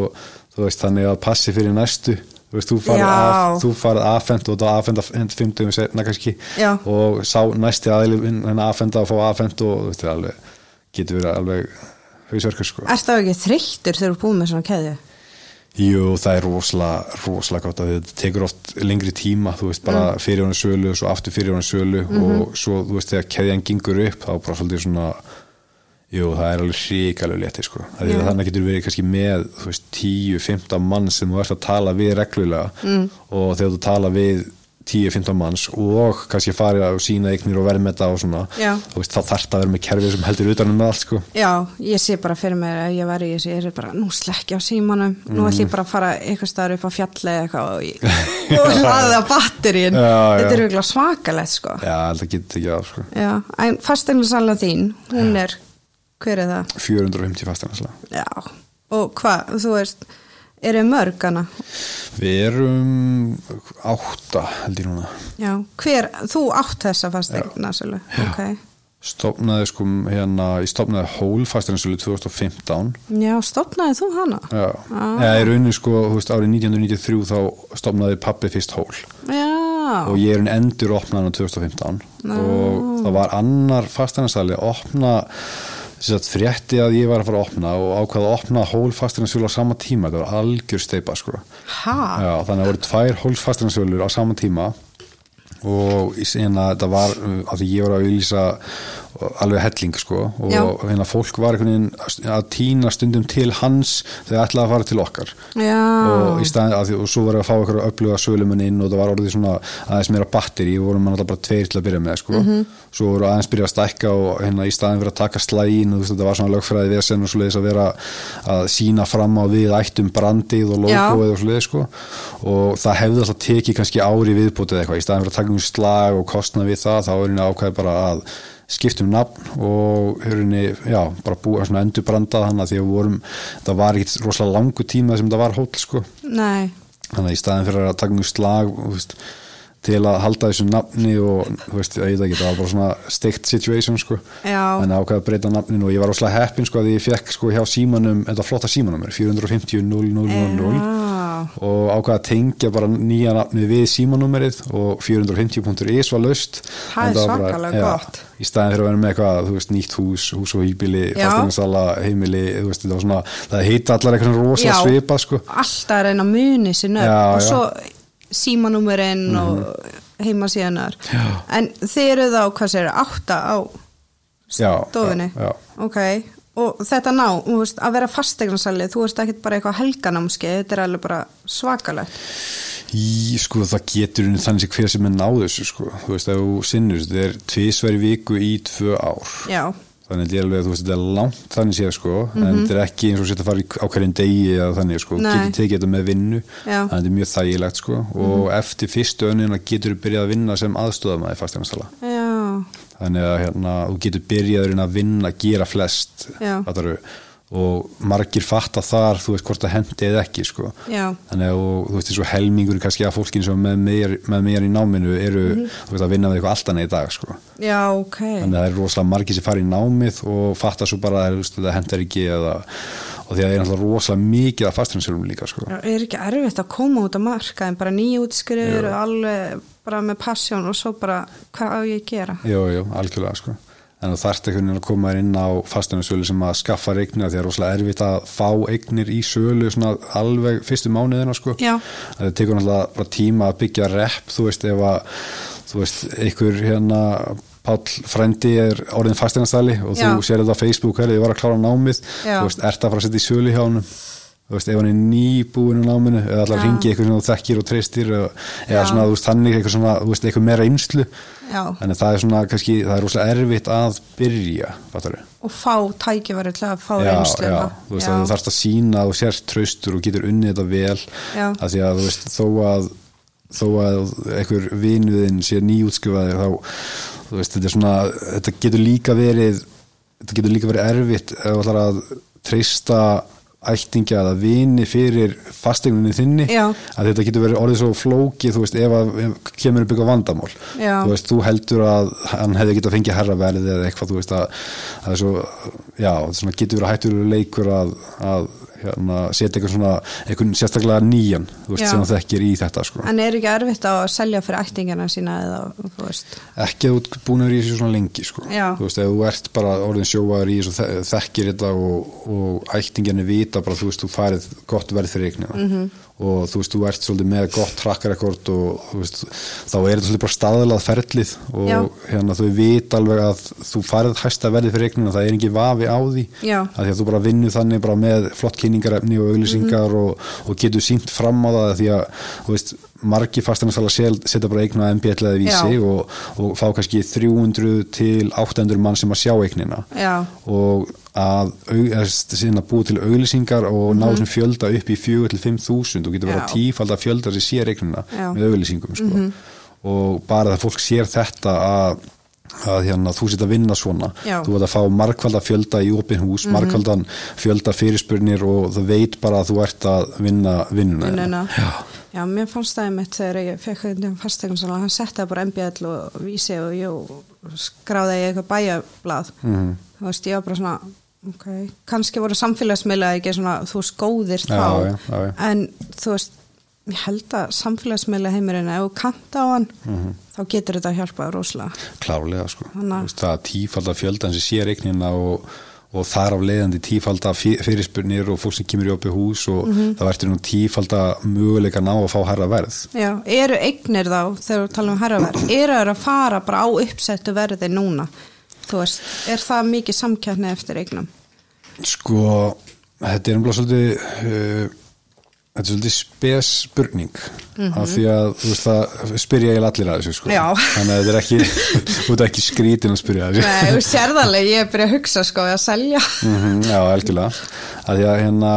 þú veist, þannig að passi fyrir næstu þú veist, þú farið Já. að- þú farið aðfend og þú aðfenda fimmtugum setna kannski Já. og sá næsti aðilin en aðfenda og fá aðfend og þú veist, það er alveg, getur verið alveg hausverkur sko. Ert það ekki þreyttur þegar þú er búin með svona keðju? Jú, það er rosalega, rosalega gott að þetta tekur oft lengri tíma, þú veist, bara mm. Mhm. fyrir honum sölu og svo aftur fyrir honum sölu og svo, þú veist, þegar keðjan gengur upp þá er bara svolítið svona jú, það er alveg hrikalega létti, sko það er þannig að getur verið kannski með, þú veist 10-15 mann sem þú ert að tala við reglulega mm. og þegar þú tala við 10-15 manns og kannski farið að sína eignir og verið með þetta og svona, Já. þú veist, þá þarf það að vera með kerfið sem heldur utanum allt, sko Já, ég sé bara fyrir mér að ég væri í þessu, ég er bara, nú slekki á símanum, Mhm. nú ætlum ég bara að fara eitthvað staðar upp á fjalli eða eitthvað og, ég- og laða batterín. Já, já. Þetta er auðvitað svakalegt, sko. Já, Já, þetta getur ekki af, sko en fasteignarsala þín, hún er, hver er það? 450 fastegnarslega Já, og hvað, þú veist, eru mörg hana? Við erum átta held ég núna Já, hver, þú átt þessa fasteignarsala, ok. stopnaði sko hérna ég stopnaði hólfastarinsölu 2015 Já, stopnaði þú hana? Já, eða í raunin sko þú veist, árið 1993 þá stopnaði pappi fyrst hól Já, og ég er en endur opnaðan á 2015 og það var annar fastarinsali að opna sem sagt, frétti að ég var að fara að opna og ákvaði að opna hólfastarinsölu á sama tíma þetta var algjör steipa sko ha? Já, þannig að það voru tvær hólsfastinansölur á saman tíma og í sena þetta var uh, af því ég var að auðlýsa alveg helling sko og Já. hérna fólk var einhvern veginn að týna stundum til hans þegar ætlaði að fara til okkar Já, og, í staðin, að því, og svo var að fá ykkur að upplöga sölumenn inn og það var orðið svona aðeins meira batteri og vorum alltaf bara tveir til að byrja með sko. svo voru aðeins byrja að stækka og hérna, í staðin fyrir að taka slægin og þú veist, þetta var svona lögfræði vesen og svoleiðis að vera að sína fram á við ættum brandið og Já. logoið og svoleiðis sko. og það hefði alltaf tekið kannski ári viðbútið eitthvað, í staðin fyrir að taka um slag og kostna við það, þá er hérna ákvæði bara að skiptum nafn og hörunni, já, bara búið svona endurbrandað hann að því að við vorum, það var ekkit rosalega langu tíma sem það var hótel sko nei, þannig að í staðin fyrir að taka mjög slag þú veist, til að halda þessu nafni og þú veist, ég veit ekki, það var bara svona steikt situation sko Já. en ákveð að breyta nafninu og ég var óslega heppin sko að ég fekk sko hjá símanum, þetta flotta símanum 450 000 Já. og ákvað að tengja bara nýja nafnið við símanúmerið og 450.is var löst Það er En var bara- svakalega já, gott. í staðin fyrir að vera með eitthvað, þú veist, nýtt hús hús og hýbili, Já. fastinansala, heimili þú veist, þetta var svona, það heita allar eitthvað rosa Já. svipa sko alltaf að reyna að muni sér nöfn Já, já. og Mm. svo símanúmerinn og heimasíðanar en þið eru þá, hvað sér, átta á Já, stofunni já, já. ok, og þetta ná þú veist, að vera fasteignarsali, þú veist ekkert bara eitthvað helganámskeið, þetta er alveg bara svakalegt Í, sko, það getur unni þannig sem hver sem er náðu þessu, sko. Þú veist, ef þú sinnur, þetta er tvisveri viku í tvö ár. já, þannig að ég er alveg að þú veist þetta er langt þannig séð sko, en þetta er ekki eins og setja að fara í á hverjum degi eða þannig sko, Mhm. Nei. getur tekið þetta með vinnu Já. Mhm. þannig að þetta er mjög þægilegt sko og eftir fyrstu önina getur þú byrjað að vinna sem aðstöðamæði fastegnastala já, þannig að hérna, þú getur byrjað í raun að vinna, gera flest Já. fattaru, og margir fatta þar þú veist hvort það hendi eða ekki sko. Já. þannig að og, þú veist þessu helmingur kannski að fólkin sem er með mér, með mér í náminu eru þú veist, að vinna með eitthvað allt annað í dag sko. já, ok þannig að það er rosalega margir sem fara í námið og fatta svo bara að þú veist, þetta hendar ekki eða, og því að það er náttúrulega rosalega mikið að fastansirum líka sko. er ekki erfitt að koma út á marka en bara nýjútskriður og alveg bara með passjón og svo bara hvað á ég að gera Jú, jú, algjörlega sko en þú þarft einhvern veginn að koma þér inn á fasteinarsölu sem að skaffa eignir því að það er rosalega erfitt að fá eignir í sölu svona alveg fyrstu mánuðina sko Já. Að það tekur náttúrulega bara tíma að byggja rep þú veist ef að þú veist einhver hérna Páll frendi er orðin fasteinarsæli og þú Já. sér þetta á Facebook herri, ég var að klára námið, Já. þú veist, ert að fara að setja í sölu hjá honum þú veist, ef hann er nýbúin á náminu eða allar Já. ringi eitthvað sem þú þekkir og treystir eða eða Já. svona, þú veist, þannig eitthvað svona, þú veist, eitthvað meira einslu Já. þannig að það er svona kannski, það er rosalega erfitt að byrja, fattar við og fá tækifæri til að fá Já, reynslu já, þú veist að þú þarfst að sína og sért traustur og getur unnið þetta vel Já. að því að þú veist þó að þó að einhver vinuðin sé nýjútskrifaðir þá þú veist þetta er svona, þetta getur líka verið þetta getur líka verið erfitt ef þú ætlar að treysta ættingja eða vini fyrir fastegninni þinni Já. að þetta getur verið orðið svo flókið þú veist ef að ef kemur upp eitthvað vandamál Já. þú veist þú heldur að hann hefði getað fengið herraverðið eða eitthvað þú veist að það er svo, já, þetta er svona getur verið hættur leikur að, að hérna, setja eitthvað svona, eitthvað sérstaklega nýjan, þú veist, Já. sem hann þekkir í þetta sko. en er ekki erfitt að selja fyrir ættingina sína eða þú veist ekki að þú ert búin að vera í þessu svona lengi sko. Já. þú veist, ef þú ert bara orðin sjóaður í þessu og þe- þekkir þetta og, og ættinginni vita bara, þú veist, þú færið gott verð fyrir eignina Mhm. -hmm. og þú veist, þú ert svolítið með gott track record og þú veist, þá er þetta svolítið bara staðalað ferlið og Já. hérna þau vita alveg að þú færið hæsta verðið fyrir eignina, það er ekki vafi á því Já. að því að þú bara vinnur þannig bara með flott kynningarefni og auglýsingar Mhm. og, og getur sínt fram á það því að þú veist, margi fastinarsala setja bara eigna MBL eða vísi Já. og, og fá kannski 300 til 800 mann sem að sjá eignina Já. og að au- eða s- síðan að búa til auglýsingar og ná þessum fjölda upp í 4 til 5000 og getur verið Mhm. Já. að tífalda fjölda sem sér eignina Já. Mhm. með auglýsingum sko. og bara það fólk sér þetta að að hérna, þú sitt að vinna svona Já. Mhm. þú ert að fá markvalda fjölda í opin hús markvaldan fjölda fyrirspurnir og það veit bara að þú ert að vinna vinnuna hérna. vinnuna Já. já, mér fannst það mitt þegar ég fekk þetta fastegnarsala, hann setti bara MBL og vísi og ég skráði ég eitthvað bæjablað Mhm. þú veist, ég var bara svona ok, kannski voru samfélagsmiðla ekki svona, þú veist, góðir Já, þá já, já, já. en þú veist ég held að samfélagsmiðla heimurinn ef þú kanta á hann, Mhm. þá getur þetta hjálpað rosalega, klárlega sko Þannig að- Þú veist, það er tífalda fjöldan sem sér eignina og, og þar af leiðandi tífalda fy- fyrirspurnir og fólk sem kemur í opið hús og Mhm. það verður nú tífalda möguleika að ná að fá herra verð já, eru eignir þá þegar við talum um herraverð, eru þeir að fara bara á uppsettu verði núna þú veist, er það mikið samkjarni eftir eignum? sko, þetta er umlað svolítið uh, þetta er svolítið spes spurning af því að þú veist það spyrja ég allir að þessu sko Mhm. Já. þannig að þetta er ekki, þú ert ekki skrítin að spyrja að þessu Nei, þú sérð alveg, ég er byrjað að hugsa sko að selja. -hmm, já, algjörlega að því að hérna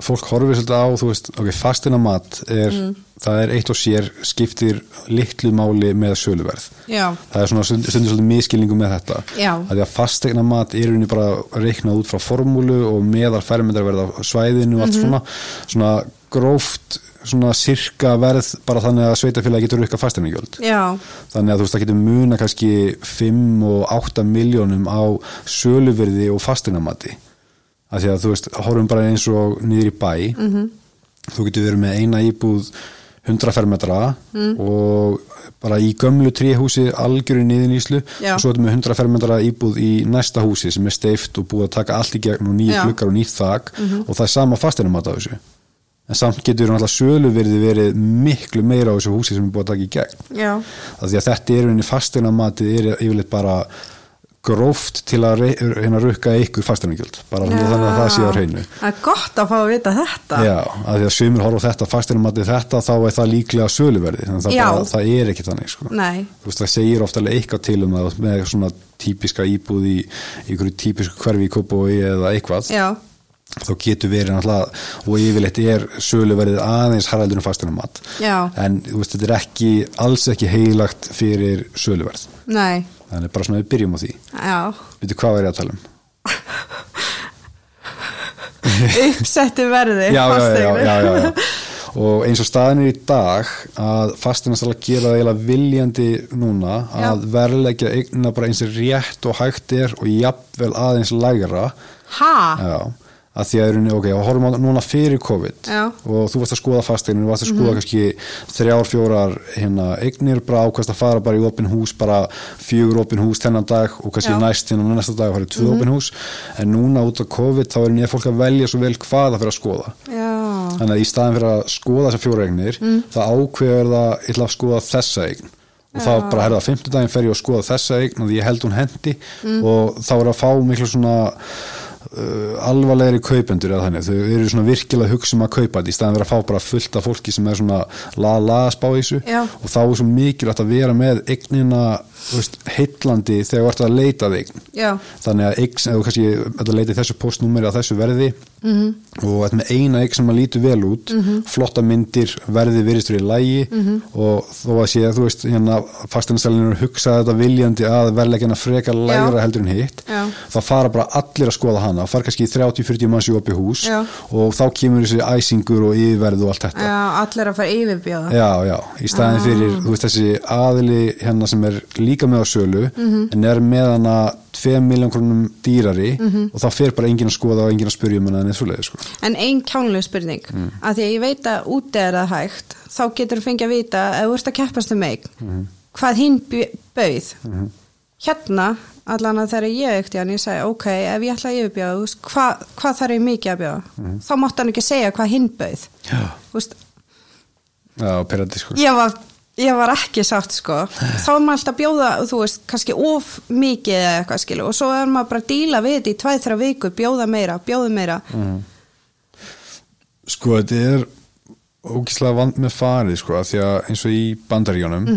fólk horfir svolítið á, þú veist, ok, fastina mat er, það er eitt og sér skiptir litlu máli með söluverð Já. það er svona stundur svolítið miskilningu með þetta Já. að því að fastegna mat er unni bara reiknað út frá formúlu og meðal færmyndarverð á svæðinu og allt svona svona gróft svona sirka verð bara þannig að sveitafélagi getur rukka fastegningjöld Já, þannig að þú veist það getur muna kannski 5 og 8 miljónum á söluverði og fastinamati af því að þú veist, horfum bara eins og niður í bæ Mhm. -hmm. þú getur verið með eina íbúð 100 fermetra Mm. og bara í gömlu tríhúsi algjöru niðin íslu Já. og svo ertu með 100 fermetra íbúð í næsta húsi sem er steift og búið að taka allt í gegn og nýja Já. Mhm. gluggar og nýtt þak og það er sama fastinamati á þessu en samt getur náttúrulega söluverði verið miklu meira á þessu húsi sem er búið að taka í gegn já, að því að þetta er unni fastegna matið er yfirleitt bara gróft til að rey- reyna að rukka ykkur fasteinagjald bara ja. þannig að það sé á hreinu Það er gott að fá að vita þetta Já, að því að sömur horfa á þetta fasteinumatið þetta þá er það líklega söluverði þannig að það, Já. bara, það er ekki þannig sko. Nei, þú veist það segir ofta alveg eitthvað til um það með svona típiska íbúð í í einhverju típisku hverfi í kópói eða eitthvað já, þá getur verið náttúrulega og yfirleitt er söluverðið aðeins haraldunum fasteinamat Já. en þú veist þetta er ekki alls ekki heilagt fyrir söluverð nei, þannig bara svona við byrjum á því já veitu hvað var ég að tala um Uppsettu verði já, já, já, fasteignar. já, já, já. og eins og staðin er í dag að fastinansala gera það eiginlega viljandi núna að verðleggja eigna bara eins og rétt og hægt er og jafnvel aðeins lægra Ha? já, að því að erum, ok, og horfum á núna fyrir COVID Já. Mhm. og þú varst að skoða fasteinu þú varst að skoða kannski þrjár, fjórar hérna, eignir, bara ákvæmst að fara bara í opin hús, bara fjögur opin hús þennan dag og kannski Já. Mhm. næst hérna næsta dag og farið tvö opin hús, en núna út af COVID þá erum ég fólk að velja svo vel hvað það fyrir að skoða Já, Mm. Þannig að í staðin fyrir að skoða þessar fjóra eignir það ákveður það, ég ætla að skoða þessa eign og þá bara herða að fimmtudaginn fer ég að skoða þessa eign og því ég held hún hendi Mm. og þá er að fá miklu svona uh, alvarlegri kaupendur eða þannig, þau eru svona virkilega að hugsa um að kaupa þetta í staðin fyrir að fá bara fullt af fólki sem er svona la-la að spá í þessu Já. og þá er svo mikilvægt að vera með eignina þú veist, heitlandi þegar þú ert að leita að eign já, þannig að eign, eða þú kannski þetta leiti þessu postnúmeri að þessu verði Mhm. -hmm. og þetta með eina eign sem að lítu vel út flotta myndir, verði virðist verið í lægi Mhm. -hmm. og þó að sé að þú veist hérna fastinasælinu hugsa þetta viljandi að verðleggina frekar lægra heldur en hitt Já. þá fara bara allir að skoða hana og fara kannski í 30-40 manns í opið hús Já. og þá kemur þessi æsingur og yfirverð og allt þetta já, allir að fara yfirbjóða Já, já, í staðin fyrir þú veist þessi aðili hérna sem er líka með á sölu en er með hana 2 miljón krónum dýrari og þá fer bara enginn að skoða og enginn að spyrja um hana en eins og leið sko. En ein kjánlega spurning, mm. að því að ég veit að úti er það hægt, þá getur þú fengið að vita ef þú ert að keppast um eign, hvað hinn bj- bauð. Hérna, allan að þegar ég ekkert hann, ég segi, ok, ef ég ætla að yfirbjóða, þú veist, hva, hvað þarf ég mikið að bjóða? Þá mátt hann ekki segja hvað hinn bauð. Já, Þú veist, já perandi sko. ég var, ég var ekki sátt sko þá er maður alltaf að bjóða, þú veist, kannski of mikið eða eitthvað skilu og svo er maður bara að díla við þetta í tvæð þrjá viku bjóða meira, bjóða meira sko þetta er ógislega vand með farið sko af því að eins og í bandaríjónum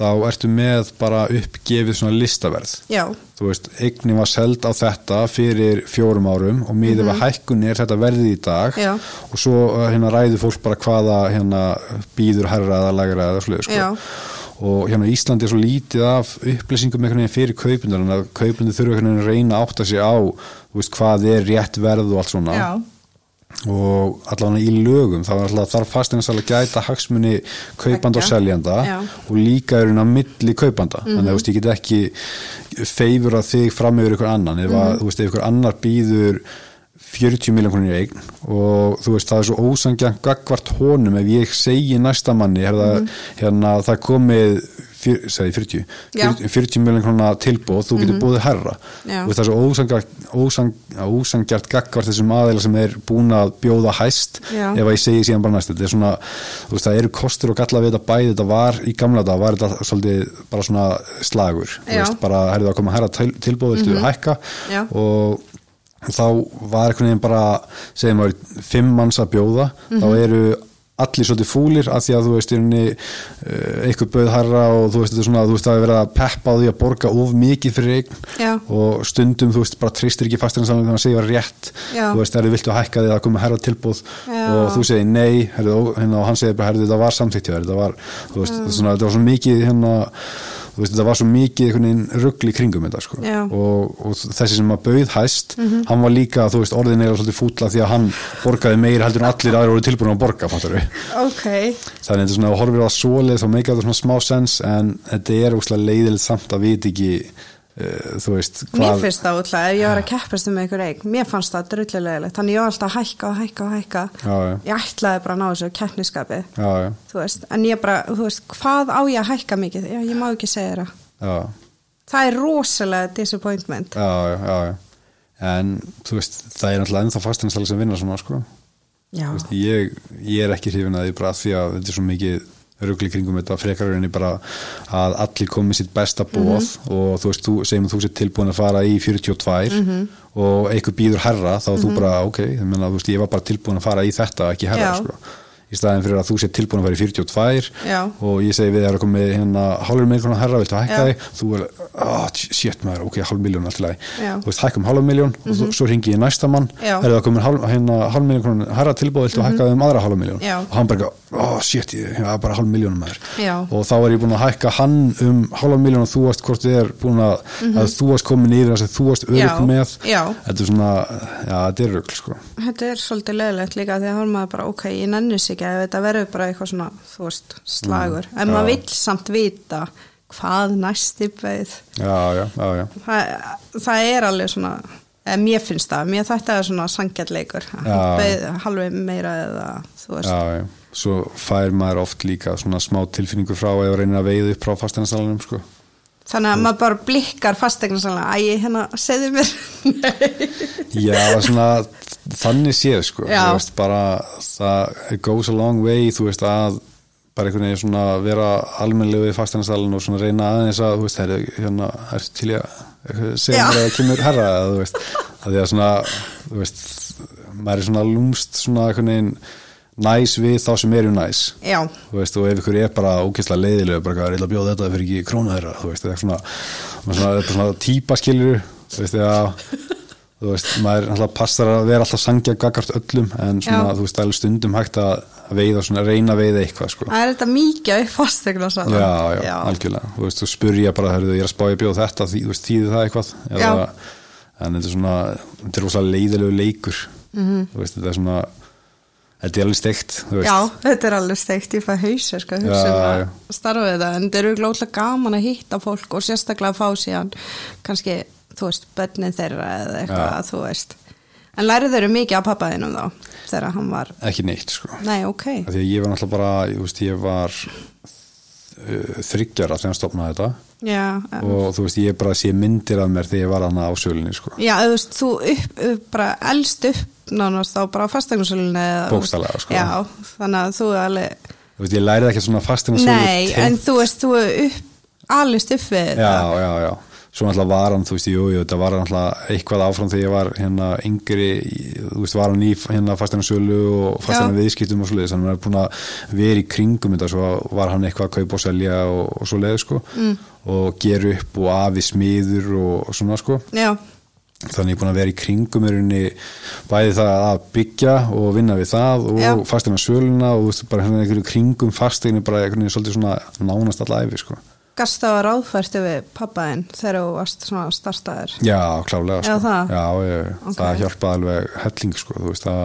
þá ertu með bara uppgefið svona listaverð já, þú veist, eignin var seld á þetta fyrir fjórum árum og miðið mm -hmm. hækkun er þetta verðið í dag Mhm. Já. og svo uh, hérna ræður fólk bara hvaða hérna býður herra eða lagra eða slöðu sko. Já. og hérna á Íslandi er svo lítið af upplýsingum einhvern veginn fyrir kaupundur en að kaupundur þurfa einhvern veginn að reyna að átta sig á þú veist, hvað er rétt verð og allt svona já, og allavega í lögum þá er alltaf þarf fastinansal að gæta hagsmuni kaupanda og Beggja. seljanda Já. Mhm. og líka er hún á milli kaupanda þannig að þú veist, ég get ekki feifur að þig fram yfir ykkur annan ef, Mhm. að, þú veist, ef ykkur annar býður 40 miljón krónir eign og þú veist það er svo ósangjarn gagvart honum ef ég segi næsta manni herða, Mhm. hérna það er komið fyr, segi 40, Já. Mhm. 40 miljón krónar tilbúð, þú getur mm -hmm. búið herra Já. Þú veist, það er svo ósangjart, ósang, ósangjart gagvart þessum aðeila sem er búin að bjóða hæst Já. ef að ég segi síðan bara næst þetta er svona, þú veist, það eru kostur og galla við þetta bæði þetta var í gamla dag, var þetta svolítið bara svona slagur Þú Já. Mhm. veist, bara herðu að koma herra til, tilbúð viltu hækka Já. og þá var einhvern veginn bara segjum að fimm manns að bjóða Mhm. þá eru allir svolítið fúlir af því að þú veist, í rauninni, eh, einhver bauð herra og þú veist, þetta er svona, þú veist, það er verið að peppa á því að borga of mikið fyrir eign Já. og stundum, þú veist, bara tristir ekki fastinansalum þegar hann segir var rétt Já. þú veist, er þið viltu að hækka því að koma herra tilbúð Já. og þú segir nei herri, og, hérna, og hann segir bara, herri, þetta var samþykkt hjá þér, þetta var, þú veist, svona, þetta var svo mikið hérna, þú veist, þetta var svo mikið einhvern veginn ruggli kringum þetta, sko Já. Mhm. og, og þessi sem að bauð hæst hann var líka, þú veist, orðin er svolítið fútla því að hann borgaði meir heldur en allir aðrir voru tilbúin að borga, fattar við ok þannig að þetta er svona, ef þú horfir á það svoleið þá meika þetta svona smá sens en þetta er úslega leiðilegt samt að vita ekki uh, þú veist mér finnst það útla, ef ég var að keppast um einhver eign, mér fannst það drullilegilegt þannig ég var alltaf að hækka og hækka og hækka Já, já. ég ætlaði bara að ná þessu keppniskapi já, já, þú veist, en ég bara, þú veist, hvað á ég að hækka mikið, já, ég má ekki segja það já, það er rosalega disappointment já, já, já, já. en þú veist, það er náttúrulega ennþá fastinansæli sem vinnar svona sko. já, Þú veist, ég, ég er ekki hrifin að því bara af því að þetta er svo mikið rugli kringum þetta frekar rauninni bara að allir komið sitt besta bóð Mhm. og þú veist, þú, segjum að þú sér tilbúin að fara í 42 Mhm. og einhver býður herra þá þú bara, ok, ég meina, þú veist, ég var bara tilbúin að fara í þetta, ekki herra, Já. sko í staðin fyrir að þú sér tilbúin að fara í 42 Já. og ég segi við erum komið hérna hálfur miljón herra, viltu að hækka Já. þig þú er, ah, shit maður, ok, hálf miljón alltaf leið, Já. Mhm. þú veist, hækkum hálf miljón og þú, svo ringi ég næsta mann, Já. er það komin hálf, hérna, hálf miljón krónu herra tilbúið, viltu að hækka þig um aðra hálf miljón Mhm. Já. og hann bara, oh shit, ég það er bara hálf miljón maður Já. og þá er ég búin að hækka hann um hálf miljón og þú varst hvort þið er búin að, að þú varst komin yfir þess að þú varst örugg Mhm. Já. með Já. þetta er svona, já, þetta er rugl sko. Þetta er svolítið leðilegt líka því að hann maður bara, ok, ég nennis ekki að þetta verður bara eitthvað svona, þú veist, slagur. en Mm. já. maður vill samt vita hvað næsti beið. já, já, já, já Það, það er alveg svona, eða mér finnst það, mér þetta er svona sangjallleikur. Já. Beið halveg meira eða, þú veist, já, já. svo fær maður oft líka svona smá tilfinningu frá eða reynir að veiða upp frá fasteinasalanum sko. þannig að maður bara blikkar fastegna sannlega, æ, hérna, segðu mér, já, það er svona þannig séð sko. Já. Þú veist, bara, það it goes a long way þú veist að bara einhvern veginn svona vera almennlegu við fasteinasalan og svona reyna aðeins að þú veist, herri, hérna, er til ég að segja Já. mér að það kemur herra eða, þú veist, að því að svona þú veist, maður er svona lúmst svona einhvern veginn næs við þá sem eru næs já, þú veist, og ef ykkur er bara ógeðslega leiðilega, bara eitthvað er illa að bjóða þetta fyrir ekki krónu þeirra, þú veist, það er svona, maður svona, þetta er svona típa skilur, þú veist, eða, þú veist, maður alltaf passar að vera alltaf sangja gagart öllum, en svona, Já. þú veist, það er alveg stundum hægt að að veiða, svona, reyna að veiða eitthvað, sko. það er þetta mikið upp fastegna Já, sannlega. já, algjörlega, þú veist, þú spurja bara, hörðu, ég er að spá ég að bjóða þetta, því, þú veist, þýði það eitthvað, Já. en þetta er svona, þetta er rosalega leiðilegu leikur, Mhm. þú veist, þetta er svona, þetta er alveg steikt, þú veist. Já, þetta er alveg steikt í fæð hausa sko, hugsa Já, um að já. starfið það en þetta er auðvitað gaman að hitta fólk og sérstaklega að fá síðan kannski, þú veist, börnin þeirra eða eitthvað, Já. þú veist En lærið þeirra mikið af pappaðinum þá þegar hann var, Ekki neitt, sko. nei, ok Af því að ég var náttúrulega bara, ég, veist, ég var uh, þryggjara þegar hann stopnaði þetta Já, um, og þú veist, ég bara sé myndir af mér þegar ég var hann á sölunni, sko. já þú veist, þú upp, upp, bara elst upp nánast þá bara á fastegnarsalunni Bókstaflega, sko. Já, þannig að þú er alveg Þú veist, ég lærið ekki svona fastina sölu Nei, en þú veist, þú er upp, alist upp við Já, þetta já, já. Svo náttúrulega var hann, þú veist, jú, jú, þetta var hann náttúrulega eitthvað áfram þegar ég var hérna yngri, í- þú veist, var hann í hérna fastina sölu og fastina Já. viðskiptum og svo leiðis, hann var búin að vera í kringum þetta, svo var hann eitthvað að kaupa og selja og, og svo leiðis, sko, mm. og gera upp og afi smiður og, og svona, sko. Já, þannig ég er búin að vera í kringum í rauninni bæði það að byggja og vinna við það og Já. fasteina söluna og þú veist bara hérna einhverju kringum fasteinu bara einhvern veginn svolítið svona nánast alla æfi sko. Gast það var ráðfært yfir pappaðinn þegar þú varst svona startaður. Já, klálega sko. Já, það? Já, ég, Ok. það hjálpaði alveg helling sko, þú veist að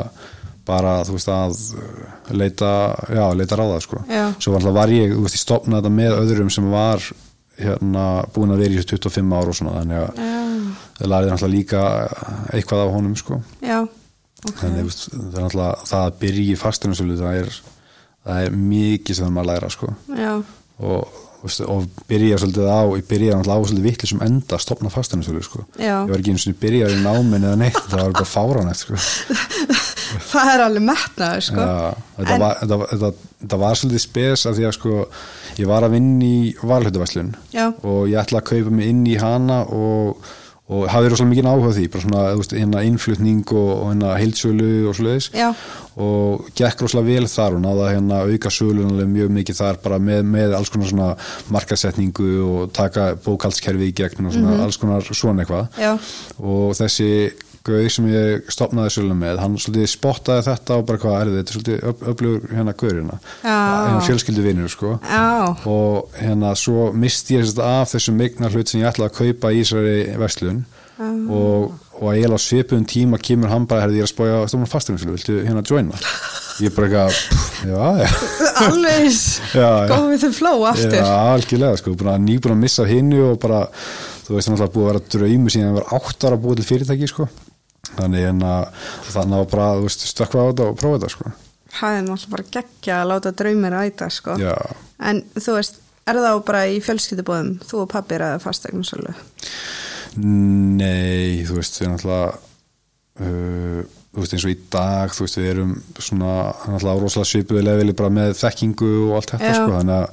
bara þú veist að uh, leita, já, leita ráða sko. Já. svo var alltaf var ég, þú veist, ég stopnaði þetta með öðrum sem var hérna búin að vera í þessu 25 ár og svona þannig að það lærið alltaf líka eitthvað af honum sko. Já, ok. þannig þú veist, það er náttúrulega það að byrja í fastinansölu það er, það er mikið sem maður læra sko. Já, og, þú veist, og byrja svolítið á ég byrja náttúrulega á svolítið vittlisum enda að stopna fastinansölu sko. Já. ég var ekki eins og byrjar í náminn eða neitt það var bara fáránætt sko. það er alveg metnaður, sko. Já, þetta, En- var, þetta, þetta, þetta var svolítið spes af því að sko, ég var að vinna í varhlutavæslun Já. og ég ætla að kaupa mig inn í hana og, og hafði rosalega mikið áhuga á því bara svona þú veist, hérna innflutning og, og hérna heildsölu og svoleiðis Já. og gekk rosalega vel þar og náða hérna auka sölunarlega mjög mikið þar bara með, með alls konar svona markasetningu og taka bókaldskerfi í gegn og svona alls konar svona eitthvað Mhm. Já. og þessi gauð sem ég stopnaði svolum með, hann svolítið spottaði þetta og bara hvað er þetta, er svolítið öf- öflugur hérna gaurina, Já. hérna fjölskyldu vinur sko, Já, og hérna svo misti ég þetta af þessum megnar hlut sem ég ætlaði að kaupa í þessari verslun og, og að ég á svipum tíma kemur hann bara, herði ég er að spája stofnum fasturinn svolum, viltu hérna joina ég bara eitthvað, pff, já, já alveg Já, já. komið þau fló aftur. Já, algjörlega, sko, búin að nýbúin að missa hinnu og bara, þú veist, náttúrulega búið að vera draumi síðan að vera átt ára að búið til fyrirtæki, sko. Þannig en að þannig að bara, þú veist, stökkva á þetta og prófa þetta, sko. Það er náttúrulega bara geggja að láta draumir æta, sko. Já. En þú veist, er það bara í fjölskyldubóðum, þú og pappi er að fastegna svolítið? Nei, þú veist, við náttúrulega, uh, þú veist, veist, eins og í dag þú veist, við erum svona náttúrulega rosalega svipuði leveli bara með þekkingu og allt þetta Já. sko, þannig að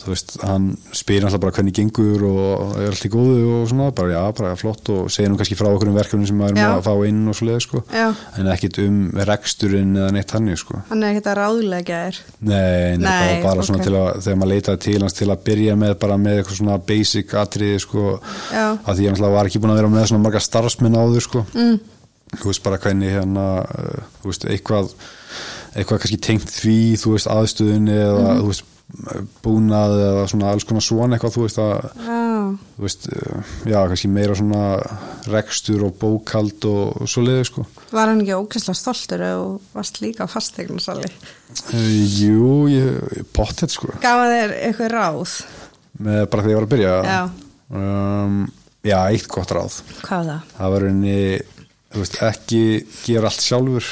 þú veist, hann spyr náttúrulega bara hvernig gengur og er allt í góðu og svona bara já, bara flott og segir nú kannski frá okkur um verkefni sem maður er Já. með að fá inn og svoleið sko, Já. en ekkit um reksturinn eða neitt hann sko. hann er ekkert að ráðlega þér Nei, nei, það Nei, var bara svona ok. til að þegar maður leitaði til hans til að byrja með bara með eitthvað svona basic atriði sko, Já. að því ég náttúrulega var ekki búin að vera með svona marga starfsmenn áður sko mm. þú veist bara hvernig hérna uh, þú veist, eitthvað eitthvað kannski tengt því, þú veist, aðstöðunni eða, Mhm. þú veist, búnað eða svona alls konar svona eitthvað, þú veist að já, þú veist, uh, já, kannski meira svona rekstur og bókald og, og svo sko var hann ekki ókvæslega stoltur og varst líka á fastegnarsali uh, Jú, ég, pottet sko gaf hann þér eitthvað ráð með bara þegar ég var að byrja Já. um, já eitt gott ráð hvað var það? það var henni veist, ekki gera allt sjálfur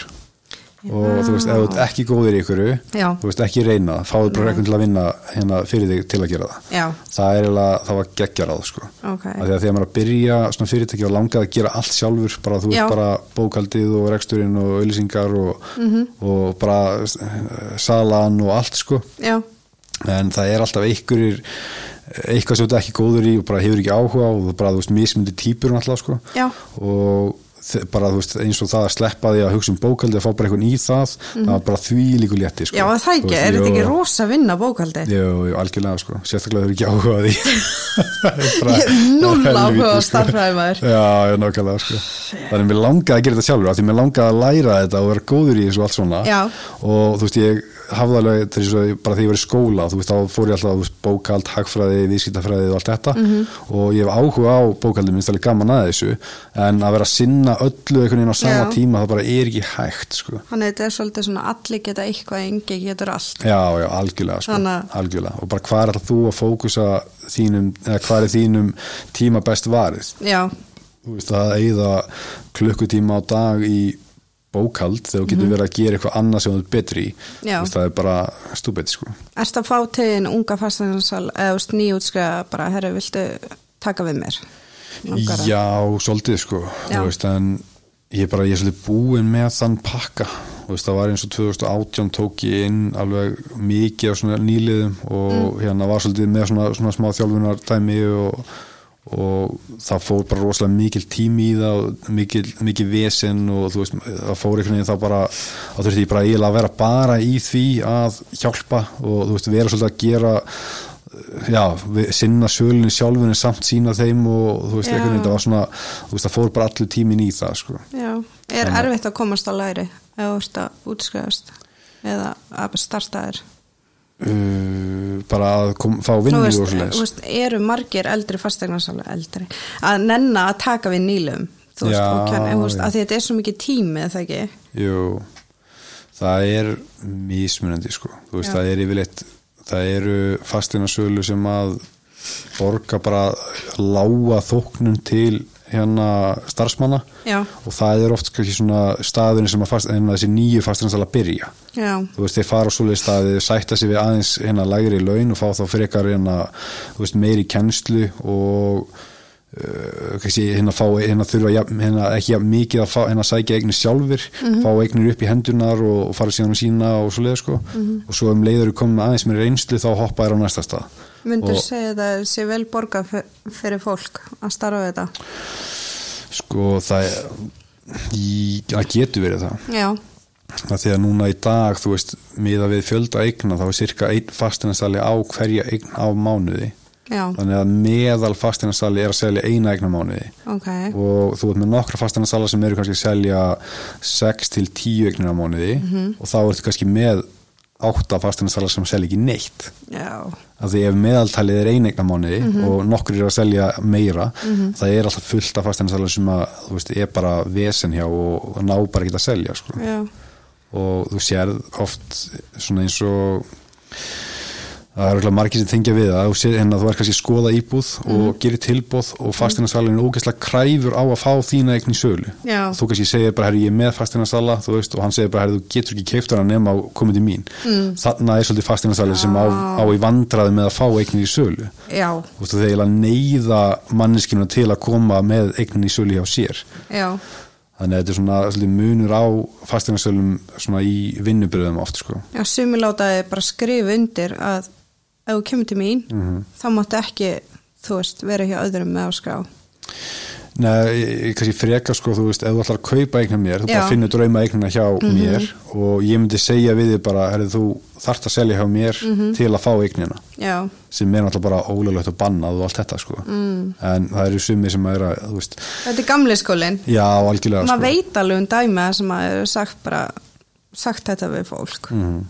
og þú veist, ef þú ert ekki góðir í ykkur Já. þú veist, ekki reyna það, fáðu bara reglum til að vinna hérna fyrir þig til að gera það Já. það er eiginlega, það var geggjaráð sko. Ok. Af því að þegar maður er að byrja svona fyrirtæki og langað að gera allt sjálfur bara þú veist, Já. bara bókaldið og reksturinn og auðlýsingar og, Mhm. og bara eh, salan og allt sko já, en það er alltaf einhverjir eitthvað sem þú ert ekki góður í og bara hefur ekki áhuga og þú bara, þú veist, mismyndi týpur alltaf, sko Já. og þe- bara, þú veist, eins og það að sleppa því að hugsa um bókaldi að fá bara einhvern í það það var bara því líku létti, sko Mhm. já það Þú ekki, veist, er þetta jú, ekki rosa vinna á bókaldi? Jú, jú, algjörlega, sko, sérstaklega þau eru ekki áhuga á því Það er bara- Ég hef núll það er áhuga á helvíti, sko. stærðfræði, maður. Já, já, nákvæmlega, sko Þannig mér langaði að gera þetta sjálfur af því mér langaði að læra þetta og vera góður í þessu og allt svona Já. og þú veist, ég hafði alveg þess að bara þegar ég var í skóla, þú veist, þá fór ég alltaf þú veist, bókald, hagfræði, viðskiptafræði og allt þetta Mhm. og ég hef áhuga á bókaldum minnst alveg gaman að þessu en að vera að sinna öllu einhvern veginn á sama Já. tíma það bara er ekki hægt, sko Þannig að þetta er svolítið svona allir geta eitthvað, engi getur allt. Já, já, algjörlega, sko, Þannig að- algjörlega og bara hvað er þú að fókusa þínum, eða hvað er þínum tíma best varið Já, þú veist að eigða klukkutíma á dag í bókald þegar þú getur verið að gera eitthvað annað sem þú er betri í Mhm. Já. Þú veist, það er bara stúbeti sko erst að fá til en unga fasteignasal eða úst nýjútskriða bara, herru, viltu taka við mér? Langar að- já, svolítið sko þú Já. veist, en ég bara, ég er svolítið búin með þann pakka þú veist, það var eins og 2018 tók ég inn alveg mikið af svona nýliðum og Mm. hérna var svolítið með svona, svona smá þjálfunar dæmi og, og það fór bara rosalega mikil tími í það og mikil, mikil vesen og þú veist, það fór einhvern veginn þá bara þá þurfti ég bara eiginlega að vera bara í því að hjálpa og þú veist, vera svolítið að gera já, við, sinna sölunni sjálfunni samt sína þeim og þú veist, Já. einhvern veginn, það var svona þú veist, það fór bara allur tímin í það, sko Já, er erfitt að komast á læri eða úrst að útskriðast eða að starta þér? uh, bara að kom, fá vinnu Nú og veist, svoleiðis veist, eru margir eldri fasteignasal eldri að nenna að taka við nýlum þú veist, Já, og kjörn, veist, já. að því þetta er svo mikið tími eða ekki? Jú, það er mismunandi, sko, þú veist, Já. það er yfirleitt, það eru fastina sölu sem að borga bara lága þóknum til hérna starfsmanna Já. og það er oft kannski svona staðurinn sem að fast, en þessi nýju fastinansala byrja Já, þú veist, þeir fara á svoleiðist að þeir sætta sig við aðeins hérna lægri laun og fá þá frekar hérna, þú veist, meiri kennslu og uh, kannski hérna fá, hérna þurfa jafn- hérna ekki jafn mikið að fá, hérna sækja eignir sjálfur fá eignir upp í hendunar og, og fara síðan um sína og svoleiðis sko og svo um leiður við komum aðeins með reynslu þá hoppa þær á næsta stað myndur Og- segja að það sé vel borgað fyr- fyrir fólk að starfa við þetta? sko það er- í- það getur verið það Já, að því að núna í dag þú veist, miða við fjölda eigna þá er cirka einn fastinansali á hverja eign á mánuði já, þannig að meðal fastinansali er að selja eina eigna á mánuði ok og þú ert með nokkra fasteinansala sem eru kannski að selja 6 til 10 eignir á mánuði og þá ertu kannski með 8 fasteinansala sem selja ekki neitt Já, að því ef meðaltalið er einegna mánuði og nokkur eru að selja meira það er alltaf fullt af fasteinansala sem að, þú veist, er bara vesen hjá og, og ná bara ekki að selja sko já, og þú sérð oft svona eins og það eru örugglega margir sem tengja við það þú sér hérna þú er kannski að skoða íbúð og gerir tilbúð og fastinasalinn er ógeðslega kræfur á að fá þína eign í sölu Já. þú kannski segir bara herri ég er með fastinasala þú veist og hann segir bara herri þú getur ekki keift hana nema að koma til mín mm. þannig er svolítið fastinasali sem á, á í vandraði með að fá eignir í sölu já, þú veist þegar neyða manneskinu til að koma með eignin í sölu hjá sér já þannig að þetta er svona svolítið munur á fasteignarsölum svona í vinnubröðum oft sko Já, sumi látaði bara skrifa undir að ef þú kemur til mín Mhm. þá máttu ekki, þú veist, vera hjá öðrum með að skrá. Nei, ég- ég- kannski freka sko, þú veist, ef þú ætlar að kaupa eignar mér, þú Já. Mhm. bara finnur drauma eignina hjá mér og ég myndi segja við þig bara, herrið, þú þarft að selja hjá mér Mhm. til að fá eignina Já, sem er náttúrulega bara ólöglegt og bannað og allt þetta sko, mm. en það eru sumi sem er að, þú veist, þetta er gamli skólinn. já, algjörlega Maður sko. veit alveg um dæmi að sem að er sagt bara, sagt þetta við fólk. já, Mm, Mhm.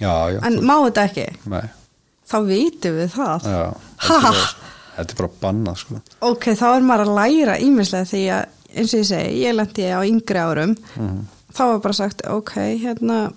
já, En þú- má þetta ekki? nei, Þá vitum við það. já, þetta Ha? er, þetta er bara bannað sko, Ok, þá er maður að læra ímislega því að, eins og ég segi, ég lendi á yngri árum. Mhm. Þá var bara sagt, ok, hérna,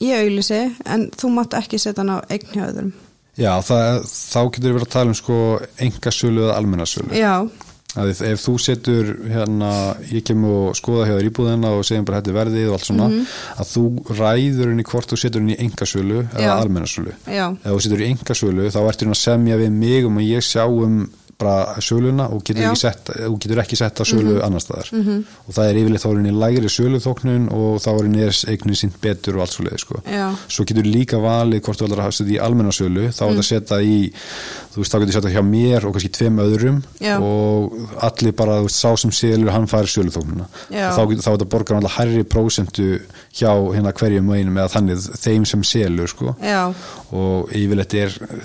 ég auðlýsi, en þú mátt ekki setja hann á eign hjá öðrum. já, það, þá getur við verið að tala um sko engasölu eða almennasölu Já, að ef- ef þú setur hérna, ég kem og skoða hjá þér íbúðina og segjum bara þetta er verðið og allt svona Mhm. að þú ræður henni hvort þú setur henni í engasölu eða Já. almennasölu Já. ef þú setur í engasölu þá ertu henni að semja við mig um að ég sjá um bara söluna og getur, Já. Mhm. ekki sett, þú getur ekki sett að sölu annar staðar -hmm. og það er yfirleitt þá er henni lægri söluþóknun og þá er henni eignin sínt betur og allt svo leið sko. Já. svo getur líka valið hvort þú ætlar að setja í almennasölu þá mm. að setja í, þú veist, þá getur setja hjá mér og kannski tveim öðrum Já. og allir bara, þú veist, sá sem selur hann fær söluþóknuna Já. og þá, getur- þá þetta borgar alltaf hærri prósentu hjá hérna hverjum og einum eða þannig þeim sem selur, sko já, og yfirleitt er eh,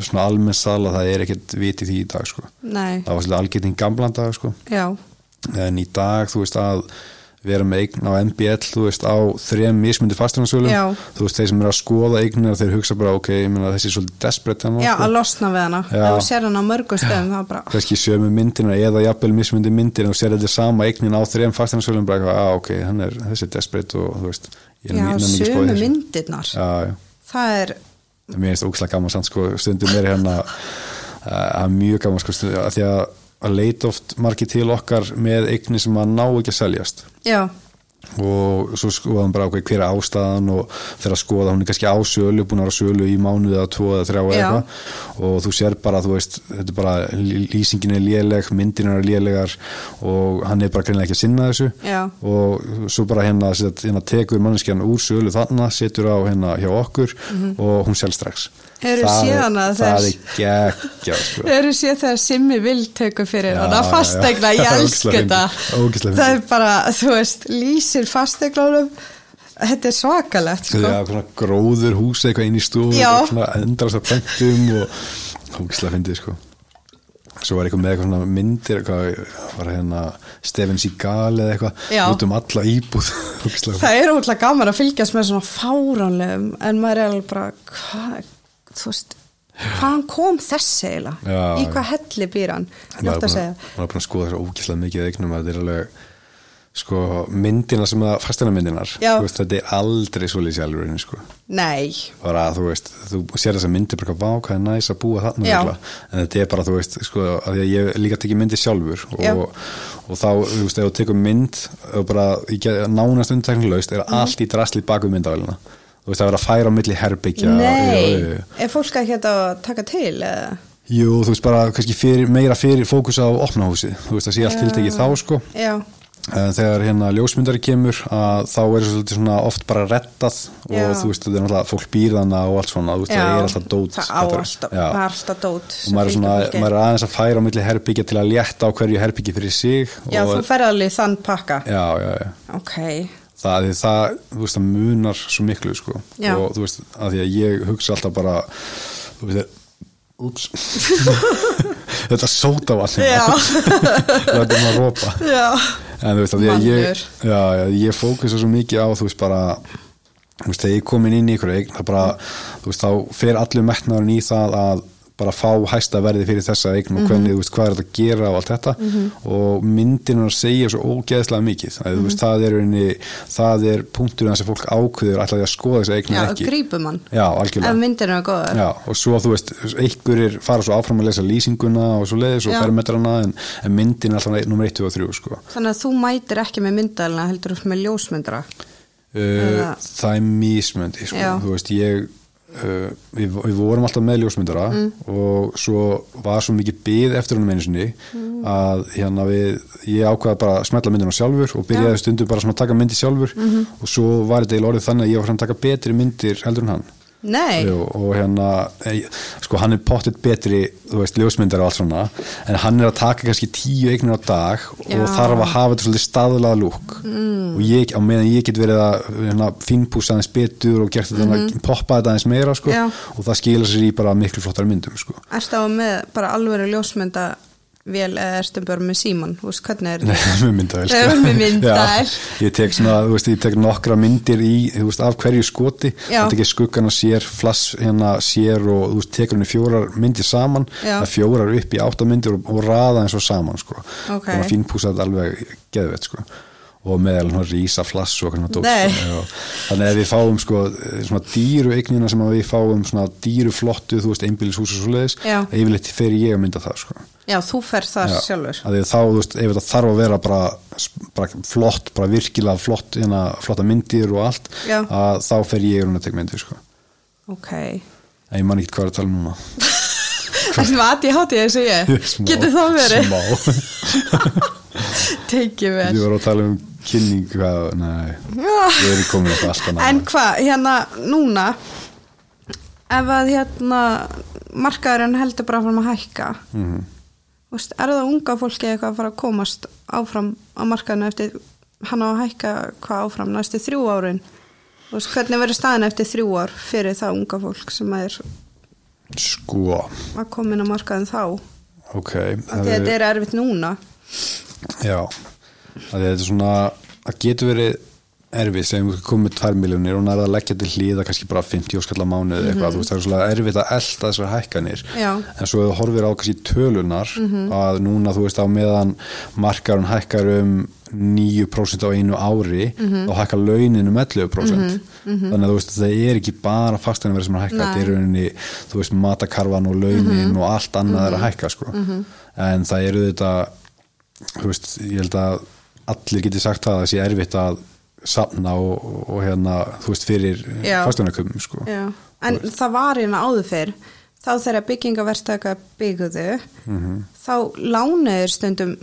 svona almenn sala, það er ekkert vit í því í dag, sko nei, það var svolítið algjörning gamlan dag, sko já, en í dag, þú veist að vera með eign á MBL, þú veist á þrem mismundi Já. fastinarsölum þú veist, þeir sem eru að skoða eignar, þeir hugsa bara ok, ég meina þessi er svolítið desperate hérna, hennar, já, að losna við hana. sko. Já. Ef þú sér hana á mörgum stöðum, þá bara, kannski sömu myndina eða jafnvel mismundi myndina og sér þetta er sama eignin á þrem fastinarsölum, bara eitthvað, að ok, hann er þessi er desperate og þú veist ég já, nenni ekki að spá í sömu þessu. myndirnar. já, já Það er, En mér finnst ókslega gaman samt sko stundum er hérna eh, það er mjög gaman sko stundum að því að, að leita oft margir til okkar með eigni sem að ná ekki að seljast já, og svo skoðum bara okkur hver er ástæðan og þegar að skoða hún er kannski á sölu búin að vera á sölu í mánuði eða tvo eða þrjá eða Já. eitthvað og þú sér bara þú veist, þetta er bara lý- lýsingin er léleg, myndin er lélegar og hann er bara greinlega ekki að sinna þessu Já. og svo bara hérna, set- hérna tekur manneskjan úr sölu þarna setur á hérna hjá okkur og hún selst strax Mhm. Hefurðu Það séð er- hana það þess? er geggjað sko. eru sér þegar Simmi vil teku fyrir Já, hana, já, fastegna, já. ég elsku Ógeðslega þetta. fyndið, ógeðslega Það er fyndið. bara, þú veist, lýsir fastegnálum, þetta er svakalegt, sko. Já, svona gróður hús eitthvað inn í stofu Já. eitthvað svona endrast af pöntum og hókislega fyndið sko svo var eitthvað með eitthvað svona myndir eitthvað, var hérna Steven Seagal eða eitthvað Já. út um alla íbúð hókislega Það er ótrúlega gaman að fylgjast með svona fáránlegum, en maður er alveg bara, hvað, þú veist, hvaðan kom þessi eiginlega? Já, Í já. hvað helli býr hann? Ég maður er ætti að búin segja. að- maður er búin að skoða þessar ókislega mikið af eignum að þetta er alveg sko myndina sem að fastina myndinar Já. veist, þetta er aldrei svo lýsi alveg sko Nei, bara þú veist, þú sér þess að myndir bara vá hvað er næs að búa þarna Já. örugglega." en þetta er bara þú veist, sko, að því að ég hef líka tekið myndi sjálfur Já. og, og þá, þú veist, ef þú tekur mynd og bara, í ge- nánast undteknilegust Mhm. er allt í drasli baku myndavælina þú veist, það verður að færa á milli herbyggja nei, og- er fólk ekki þetta að taka til? Eða? jú, þú veist, bara kannski fyrir, meira fyrir fókus á opnahúsi, þú veist, það sé allt tiltekið þá sko, Já, Eh, þegar hérna ljósmyndari kemur að þá er svolítið svona oft bara rettað og Já. þú veist, þetta er náttúrulega fólk býrðana og allt svona, þú veist, já. það er alltaf dót Það á þetta er- alltaf, Já. það er alltaf dót. og maður er, svona, maður er aðeins að færa á milli herbyggja til að létta á hverju herbyggja fyrir sig Já, og, þú ferð alveg í þann pakka. já, já, já. Ok, Það, því það, þú veist, það munar svo miklu sko. Já. og þú veist, að því að ég hugsa alltaf bara þú veist, er, úps þetta sóta var já, þetta er að rópa já, en þú veist að því að ég, Mannlegur. já, já, ég fókusa svo mikið á þú veist bara þú veist, þegar ég er komin inn í ykkur eign það bara, þú veist, þá fer allur metnaðurinn í það að bara fá hæsta verði fyrir þessa eign Mhm. og hvernig, þú veist, hvað er þetta að gera og allt þetta og myndinunar segja svo ógeðslega mikið, að, Mhm. þú veist, það er unni, það er punkturinn þar sem fólk ákveður ætlaði að skoða þessa eign já, eða og ekki grípum hann. já, algjörlega Ef myndinu er góður. Já, og svo þú veist, einhverjir fara svo áfram að lesa lýsinguna og svo leiðis og Já. fermetrana en, en myndin er alltaf nummer 1, 2 og 3 sko. Þannig að þú mætir ekki með myndalina, heldur þú með ljósmyndra. Uh, Eða- það er mismöndi sko. Já. þú veist, ég uh, við, við vorum alltaf með ljósmyndara Mm. og svo var svo mikið byð eftir honum einu sinni Mm. að hérna við, ég ákvaði bara að smetla myndina sjálfur og byrjaði stundum bara svona að taka myndi sjálfur Mhm. og svo var þetta í lórið þannig að ég var svona að taka betri myndir heldur en hann Nei, Jú, og hérna ei, sko hann er pottitt betri þú veist, ljósmyndar og allt svona en hann er að taka kannski tíu eignir á dag Já. og þarf að hafa þetta svolítið staðlaða lúk mm. og ég, á meðan ég get verið að hérna, fínpúsa aðeins betur og gert þetta mm. poppa þetta aðeins meira sko, Mhm. Já. og það skilur sér í bara miklu flottar myndum sko. erstu á með bara alveg ljósmynda vel eða erstu bara með síman, þú veist hvernig er Nei, með myndavél Nei, með myndavél. Já, ég tek svona, þú veist, ég tek nokkra myndir í, þú veist, af hverju skoti Já. þetta ekki skuggana sér, flass hérna sér og þú veist, tekur henni fjórar myndir saman, Já. það fjórar upp í átta myndir og, og raða eins og saman sko. Ok. og að fínpúsa þetta alveg geðvett sko og meðal hann rísa flass og hvernig tók Nei. sko, já. þannig að við fáum sko svona dýru eignina sem að við fáum svona dýru flottu, þú veist, einbýlishús og svoleiðis, Já. yfirleitt fer ég að mynda það sko Já, þú ferð þar Já, sjálfur að því þá, þú veist, ef þetta þarf að vera bara, bara flott, bara virkilega flott, hérna, flotta myndir og allt Já. að þá fer ég um að tek myndir sko. Ok, en ég man ekki hvað er að tala um núna það sem aðið hátið eins og ég Smá, E Getur það verið? smá, Tekið vel ég var að tala um kynning hvað, nei, Já. við erum komin upp allt annað En hvað, hérna, núna ef að hérna markaðurinn heldur bara fram að hækka Mhm. Vist, er það unga fólki eitthvað að fara að komast áfram á markaðinu eftir hann á að hækka hvað áfram næstu þrjú árin Vist, hvernig verður staðin eftir þrjú ár fyrir það unga fólk sem er sko, að koma inn á markaðin þá ok af því að þetta er erfitt núna Já, að þetta er svona að getur verið erfið sem komið tvær miljónir og nærða að leggja til hlýða kannski bara 50 skalla mánuð eða eitthvað, þú veist það er svona erfitt að elta þessar hækkanir Já. Mhm. en svo ef þú horfir á kannski tölunar að núna þú veist á meðan markarun hækkar um 9% á einu ári Mhm. þá hækkar launin um 11% þannig að þú veist það er ekki bara fastan sem er að hækka, Nei. Mhm. þetta er rauninni þú veist matakarfan og launin og allt annað er að hækka sko en það eru þetta þú veist, ég held að allir geti sagt það að það sé erfitt að safna og, og hérna þú veist, fyrir Já. fastunarköpum sko. Já, en það var hérna áður fyrr þá þegar byggingaverstaka byggðu Mhm. þá lánaður stundum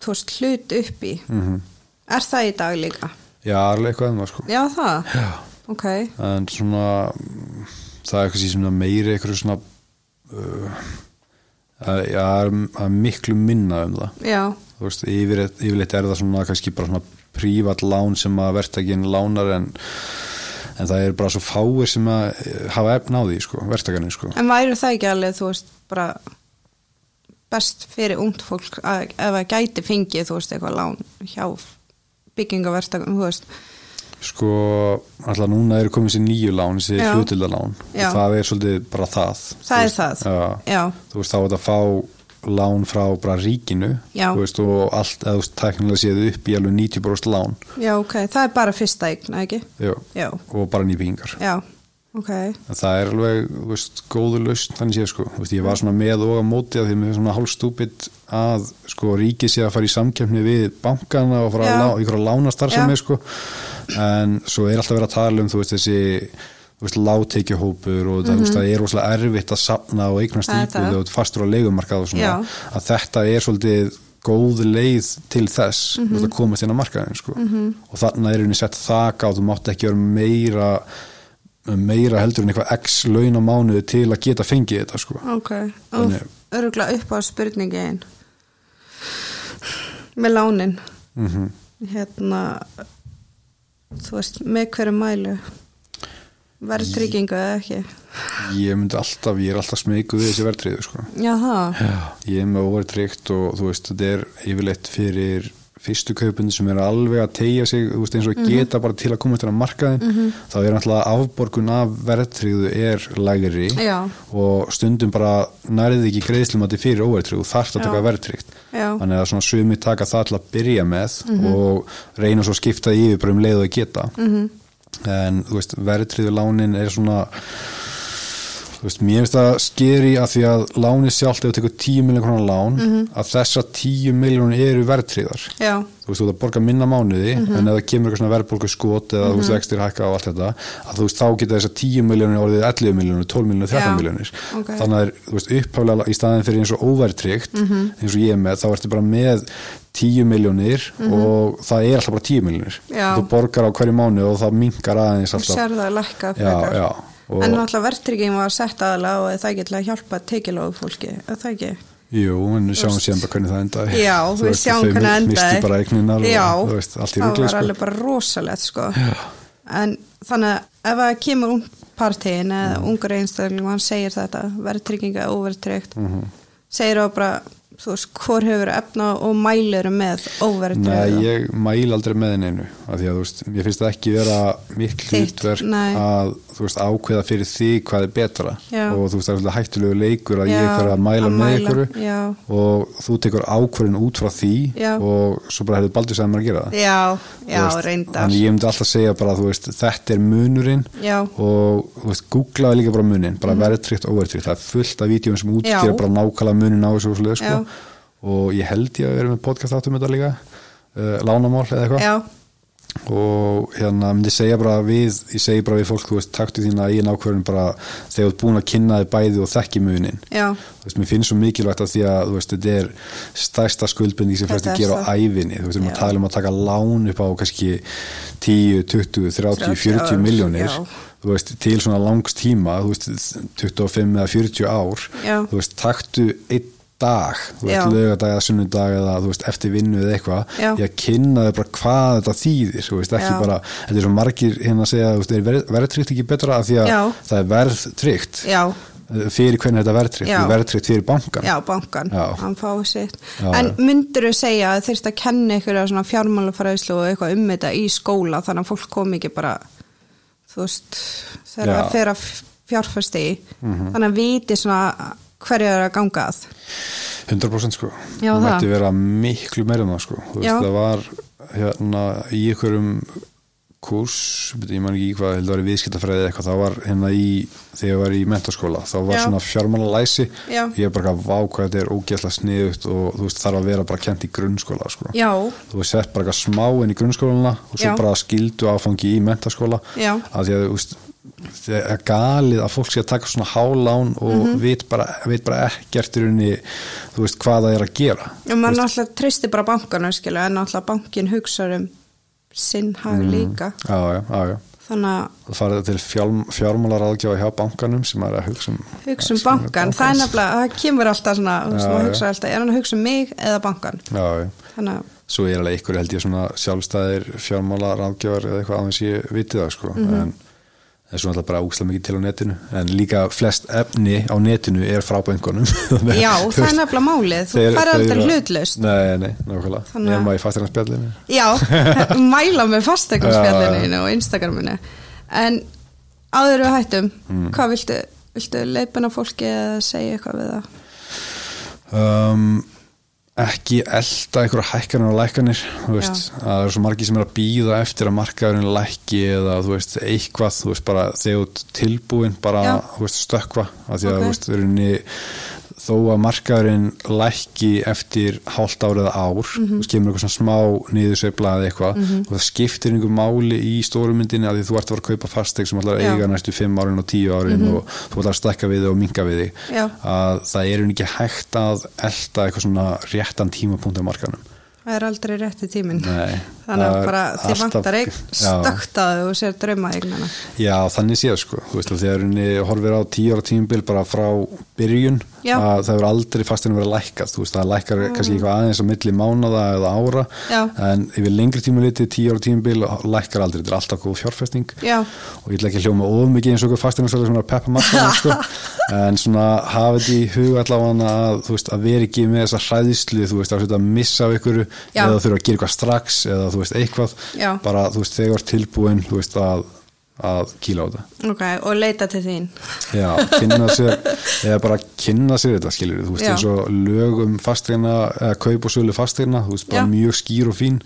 þú veist hlut upp í Mhm. -hmm. er það í dag líka? Já, alveg eitthvað um það sko. Já það? Já. Ok, en svona mm, það er eitthvað svona meiri eitthvað svona uh, að, já, að, að miklu minna um það já, þú veist, yfir, yfirleitt er það svona kannski bara svona prívat lán sem að verktakinn lánar en, en það er bara svo fáir sem að eh, hafa efna á því sko, verktakarnir sko. en væri það ekki alveg þú veist bara best fyrir ungt fólk að, ef það gæti fengið þú veist eitthvað lán hjá byggingaverstaka þú veist, sko, alltaf núna eru komið sér nýju lán, þessi Já. hlutildalán Já. og það er svolítið bara það Það Þú er veist, það. já. Já. þú veist, þá er þetta að fá lán frá bara ríkinu Já. þú veist, og allt, eða þú veist, tæknilega séð upp í alveg 90% lán já ok, það er bara fyrsta eigna ekki? já. Já. og bara nýbyggingar Já, ok En það er alveg, þú veist, góðu lausn þannig séð, sko, þú veist, ég var svona með og að móti að því mér er svona hálfstúpid að sko ríkið sé að fara í samkjöfni við bankana og fara Já. að lá, ykkur að lána starfsemi, Já. sko en svo er alltaf verið að tala um, þú veist, þessi þú veist, láteikjuhópur og það, þú veist, það er rosalega erfitt að safna og eignast Mhm. Það er íbúð það. og þú ert fastur á leigumarkað og svona Já. að þetta er svolítið góð leið til þess mm -hmm. að komast inn á markaðin sko. og þannig er henni sett þak á þú mátt ekki vera meira meira heldur en eitthvað x laun á mánuði til að geta fengið þetta sko. Ok, og Þannig- örugla upp á spurningin með lánin mm hérna þú veist, með hverju mælu verðtryggingu eða ekki ég myndi alltaf, ég er alltaf smeykuð við þessi verðtriðu sko. Já það, ég er með óverðtrygt og þú veist þetta er yfirleitt fyrir fyrstu kaupin sem er alveg að tegja sig þú veist, eins og geta bara til að komast inn á markaðin þá er náttúrulega afborgun af verðtryggðu er lægri Já. og stundum bara nærið ekki greiðslumati fyrir óverðtryggðu þarft að Já. taka verðtryggt Já. Mhm. þannig að svona sumi taka það til að byrja með og reyna svo að skipta því yfir bara um leið og Mhm. þau geta -hmm. en þú veist verðtryggðu lánin er svona þú veist, mér finnst það skeri að því að láni sjálft ef þú tekur 10 miljón krónar lán Mhm. að þessar 10 miljón eru verðtríðar já, þú veist, þú ert að borga minna mánuði Mhm. en ef það kemur eitthvað svona verðbólgu skot eða þú veist, vextir hækka og allt þetta að þú veist, þá geta þessar 10 miljónir orðið 11 miljónir, 12 miljónir, 13 Já, miljónir ok. þannig að er, þú veist, upphaflega í staðin fyrir eins og óvertryggt Mhm. eins og ég er með, þá ertu bara með 10 miljónir og það er alltaf bara 10 miljónir Mhm. Já. þú borgar á hverju mánuð og það minkar aðeins þú alltaf sér það Já, lækka frekar. já, og- en náttúrulega verðtrygging var sett aðalega og er það ekki til að hjálpa tekilóðu fólki, er það ekki Jú, en við sjáum síðan bara hvernig það endaði já, Þú við veist, sjáum þau um hvernig mi- endaði mistu bara eigninar já, og, þú veist, allt í það ruggli var sko. alveg bara rosalegt sko. en þannig að ef það kemur ung partíin eða ungur einstakling og hann segir þetta, verðtrygginga óverðtrygt, Mhm. segir það bara þú veist, hvor hefur efna og mælur með Nei, óverðtrygt ég mæl aldrei með neinu af því að þú veist, ég finnst það ekki vera mikil Þitt, hlutverk nei. að þú veist, ákveða fyrir því hvað er betra Já. og þú veist, það er svolítið hættulegu leikur að ég fyrir að mæla með ykkur já, og þú tekur ákvörðin út frá því Já. og svo bara hefur baldur sæðum að gera það já, já Þú veist, reyndar Þannig ég myndi alltaf segja bara, þú veist, þetta er munurinn Já. og, þú veist, googlaði líka bara munin, bara mm. verðtrygt og óverðtrygt það er fullt af vídjum sem útskýra Mhm. Já. bara nákvæmlega munin á þessu og svoleiðis, Já. sko. og ég held ég að vera með podcast áttum þetta líka, uh, lánamál eða eitthvað já, og hérna myndi ég segja bara við ég segi bara við fólk, þú veist, taktu þína eigin ákvörðin bara þegar þú ert búin að kynna þið bæði og þekki munin já, þú veist, mér finnst svo mikilvægt að því að þú veist, þetta er stærsta skuldbinding sem flesti Þetta er gera á það. ævinni, þú veist, við erum Já. að tala um að taka lán upp á kannski 10, 20, 30, 40 Já. miljónir þú veist, til svona langst tíma þú veist, 25 eða 40 ár Já. þú veist, taktu einn dag, þú Já. veist, lögadag eða sunnudag eða þú veist, eftir vinnu eða eitthvað Já. ég að kynna þau bara hvað þetta þýðir þú veist, ekki Já. bara, þetta er svo margir hérna að segja, þú veist, er verðtryggt ekki betra af því að Já. það er verðtryggt já eh, fyrir hvernig þetta er verðtryggt, Já. Þetta er verðtryggt fyrir bankan Já, bankan, Já. hann fái sitt Já, En já. myndirðu segja að þyrst að kenna ykkur að svona fjármálafræðslu og eitthvað um þetta í skóla þannig að fólk kom ekki bara þú veist, þegar Já. Mhm. það fer að fjárfæsti í þannig að viti svona hverju er að ganga að 100% sko Já, það það. mætti vera miklu meira en það sko Þú Já. veist, það var hérna í einhverjum kurs ég man ekki í hvað, heldur að vera viðskiptafræði eða eitthvað það var hérna í, þegar ég var í mentaskóla þá var Já. svona fjármála læsi Já. ég er bara að vá hvað þetta er ógæsla sniðut og þú veist þarf að vera bara kent í grunnskóla sko. Já, þú veist sett bara eitthvað smá inn í grunnskólana og svo Já. bara skildu áfangi í mentaskóla Já. að því að þú veist það er galið að fólk sé að taka svona hálán og Mhm. veit, bara, veit bara ekkert í rauninni, þú veist, hvað það er að gera og maður náttúrulega tristi bara bankanum skilu, en náttúrulega bankin hugsar um sinn hag Mhm. líka já, já, já, já þannig að það farið til fjármálar aðgjáða hjá bankanum sem maður er að hugsa um hugsa um bankan, það er nefnilega það kemur alltaf svona, þú veist, Já, maður já. hugsa alltaf er hann að hugsa um mig eða bankan já, já þannig að svo er alveg ykkur held ég svona sjálfstæðir fjármálar aðgjáðar eða eitthvað aðeins ég viti það sko Mhm. en það er svona alltaf bara úkslega mikið til á netinu en líka flest efni á netinu er frá bankanum Þannig að, Já, þú það er veist, nefnilega málið, þú þeir- færði þeir aldrei eru- hlutlaust. Nei, nei, nákvæmlega, Þannig að- nema í fastegnarsbjallinu Já, mæla með Já, fastegnarspjallinu og Instagraminu. En áður við hættum, Mm. hvað viltu, viltu leipina fólki að segja eitthvað við það? um, ekki elda einhverja hækkanir og lækkanir þú veist, Já. að það eru svo margi sem er að býða eftir að markaðurinn lækki eða þú veist, eitthvað, þú veist, bara þegar þú ert tilbúin bara, Já. þú veist, stökkva að því að, Ok. þú veist, rauninni, þó að markaðurinn lækki eftir hálft ár eða ár Mhm. þú veist, kemur eitthvað svona smá niðursveifla eða eitthvað og það skiptir einhver máli í stórumyndinni að því þú ert að fara að kaupa fasteik sem allar Já. Mhm. eiga næstu 5 árin og 10 árin og þú ætlar að stekka við þig og minga við þig Já. að það er ekki hægt að elda eitthvað svona réttan tímapunkt á markanum Það er aldrei rétti tíminn. Nei, Þannig það að er bara þið alltaf- vantar eign, Já. stöktaðu og sér drauma eignana. Já, þannig séð sko, þú veist að þegar henni horfir á tíu ára tímabil bara frá byrjun, Já. Mm. að það hefur aldrei fastinu verið lækkað, þú veist það lækkar kannski eitthvað aðeins á milli mánada eða ára Já. en yfir lengri tíma litið tíu ára tímabil lækkar aldrei, þetta er alltaf góð fjárfesting Já. og ég ætla ekki að hljóma of mikið eins og fastinu sem er að peppa markaðan sko. en svona hafa þetta í huga allavega að, þú veist, að vera ekki með þessa hræðislu, þú veist, að setja að missa af ykkur Já. eða þurfa að gera eitthvað strax eða þú veist, eitthvað, Já. bara þú veist, þegar þú ert tilbúin, þú veist, að að kýla á þetta ok, og leita til þín Já, kynna sér eða bara kynna sér þetta skilur þú veist Já. eins og lög um fasteina eða kaup og sölu fasteina, þú veist bara Já. Mhm. mjög skýr og fín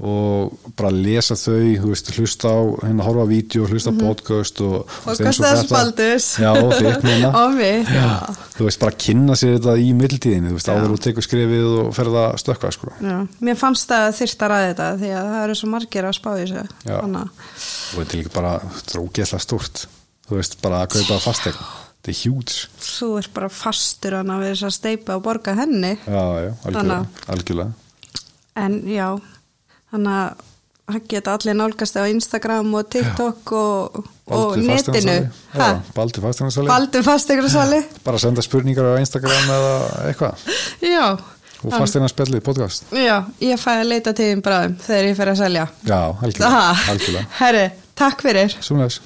og bara lesa þau, þú veist hlusta á hérna horfa á vídeo, hlusta Mhm. á podcast og, og eins hvað það spaldus Já, og þitt meina og mitt, já þú veist bara kynna sér þetta í mildtíðinni, þú veist áður og tekur skrefið og ferða að stökkva sko Já, mér fannst það þyrst að ræða þetta því að það eru svo margir að spá í þessu Já. Þannig að- og þetta er líka bara drókjæsla stórt þú veist bara að kaupa fasteina þetta er huge þú ert bara fastur hann að við þess að steipa og borga henni Já, já, algjörlega, Þannig algjörlega. en já, þannig að það geta allir nálgast á Instagram og TikTok og, og Baldur netinu fasteignasali. Ha? Já, Baldur fasteignasali Baldur fasteignarsali bara senda spurningar á Instagram eða eitthvað já, og fasteina spjallið podcast já, ég fæ að leita til þín bráðum þegar ég fer að selja já, algjörlega, algjörlega. herri, takk fyrir Sumleis.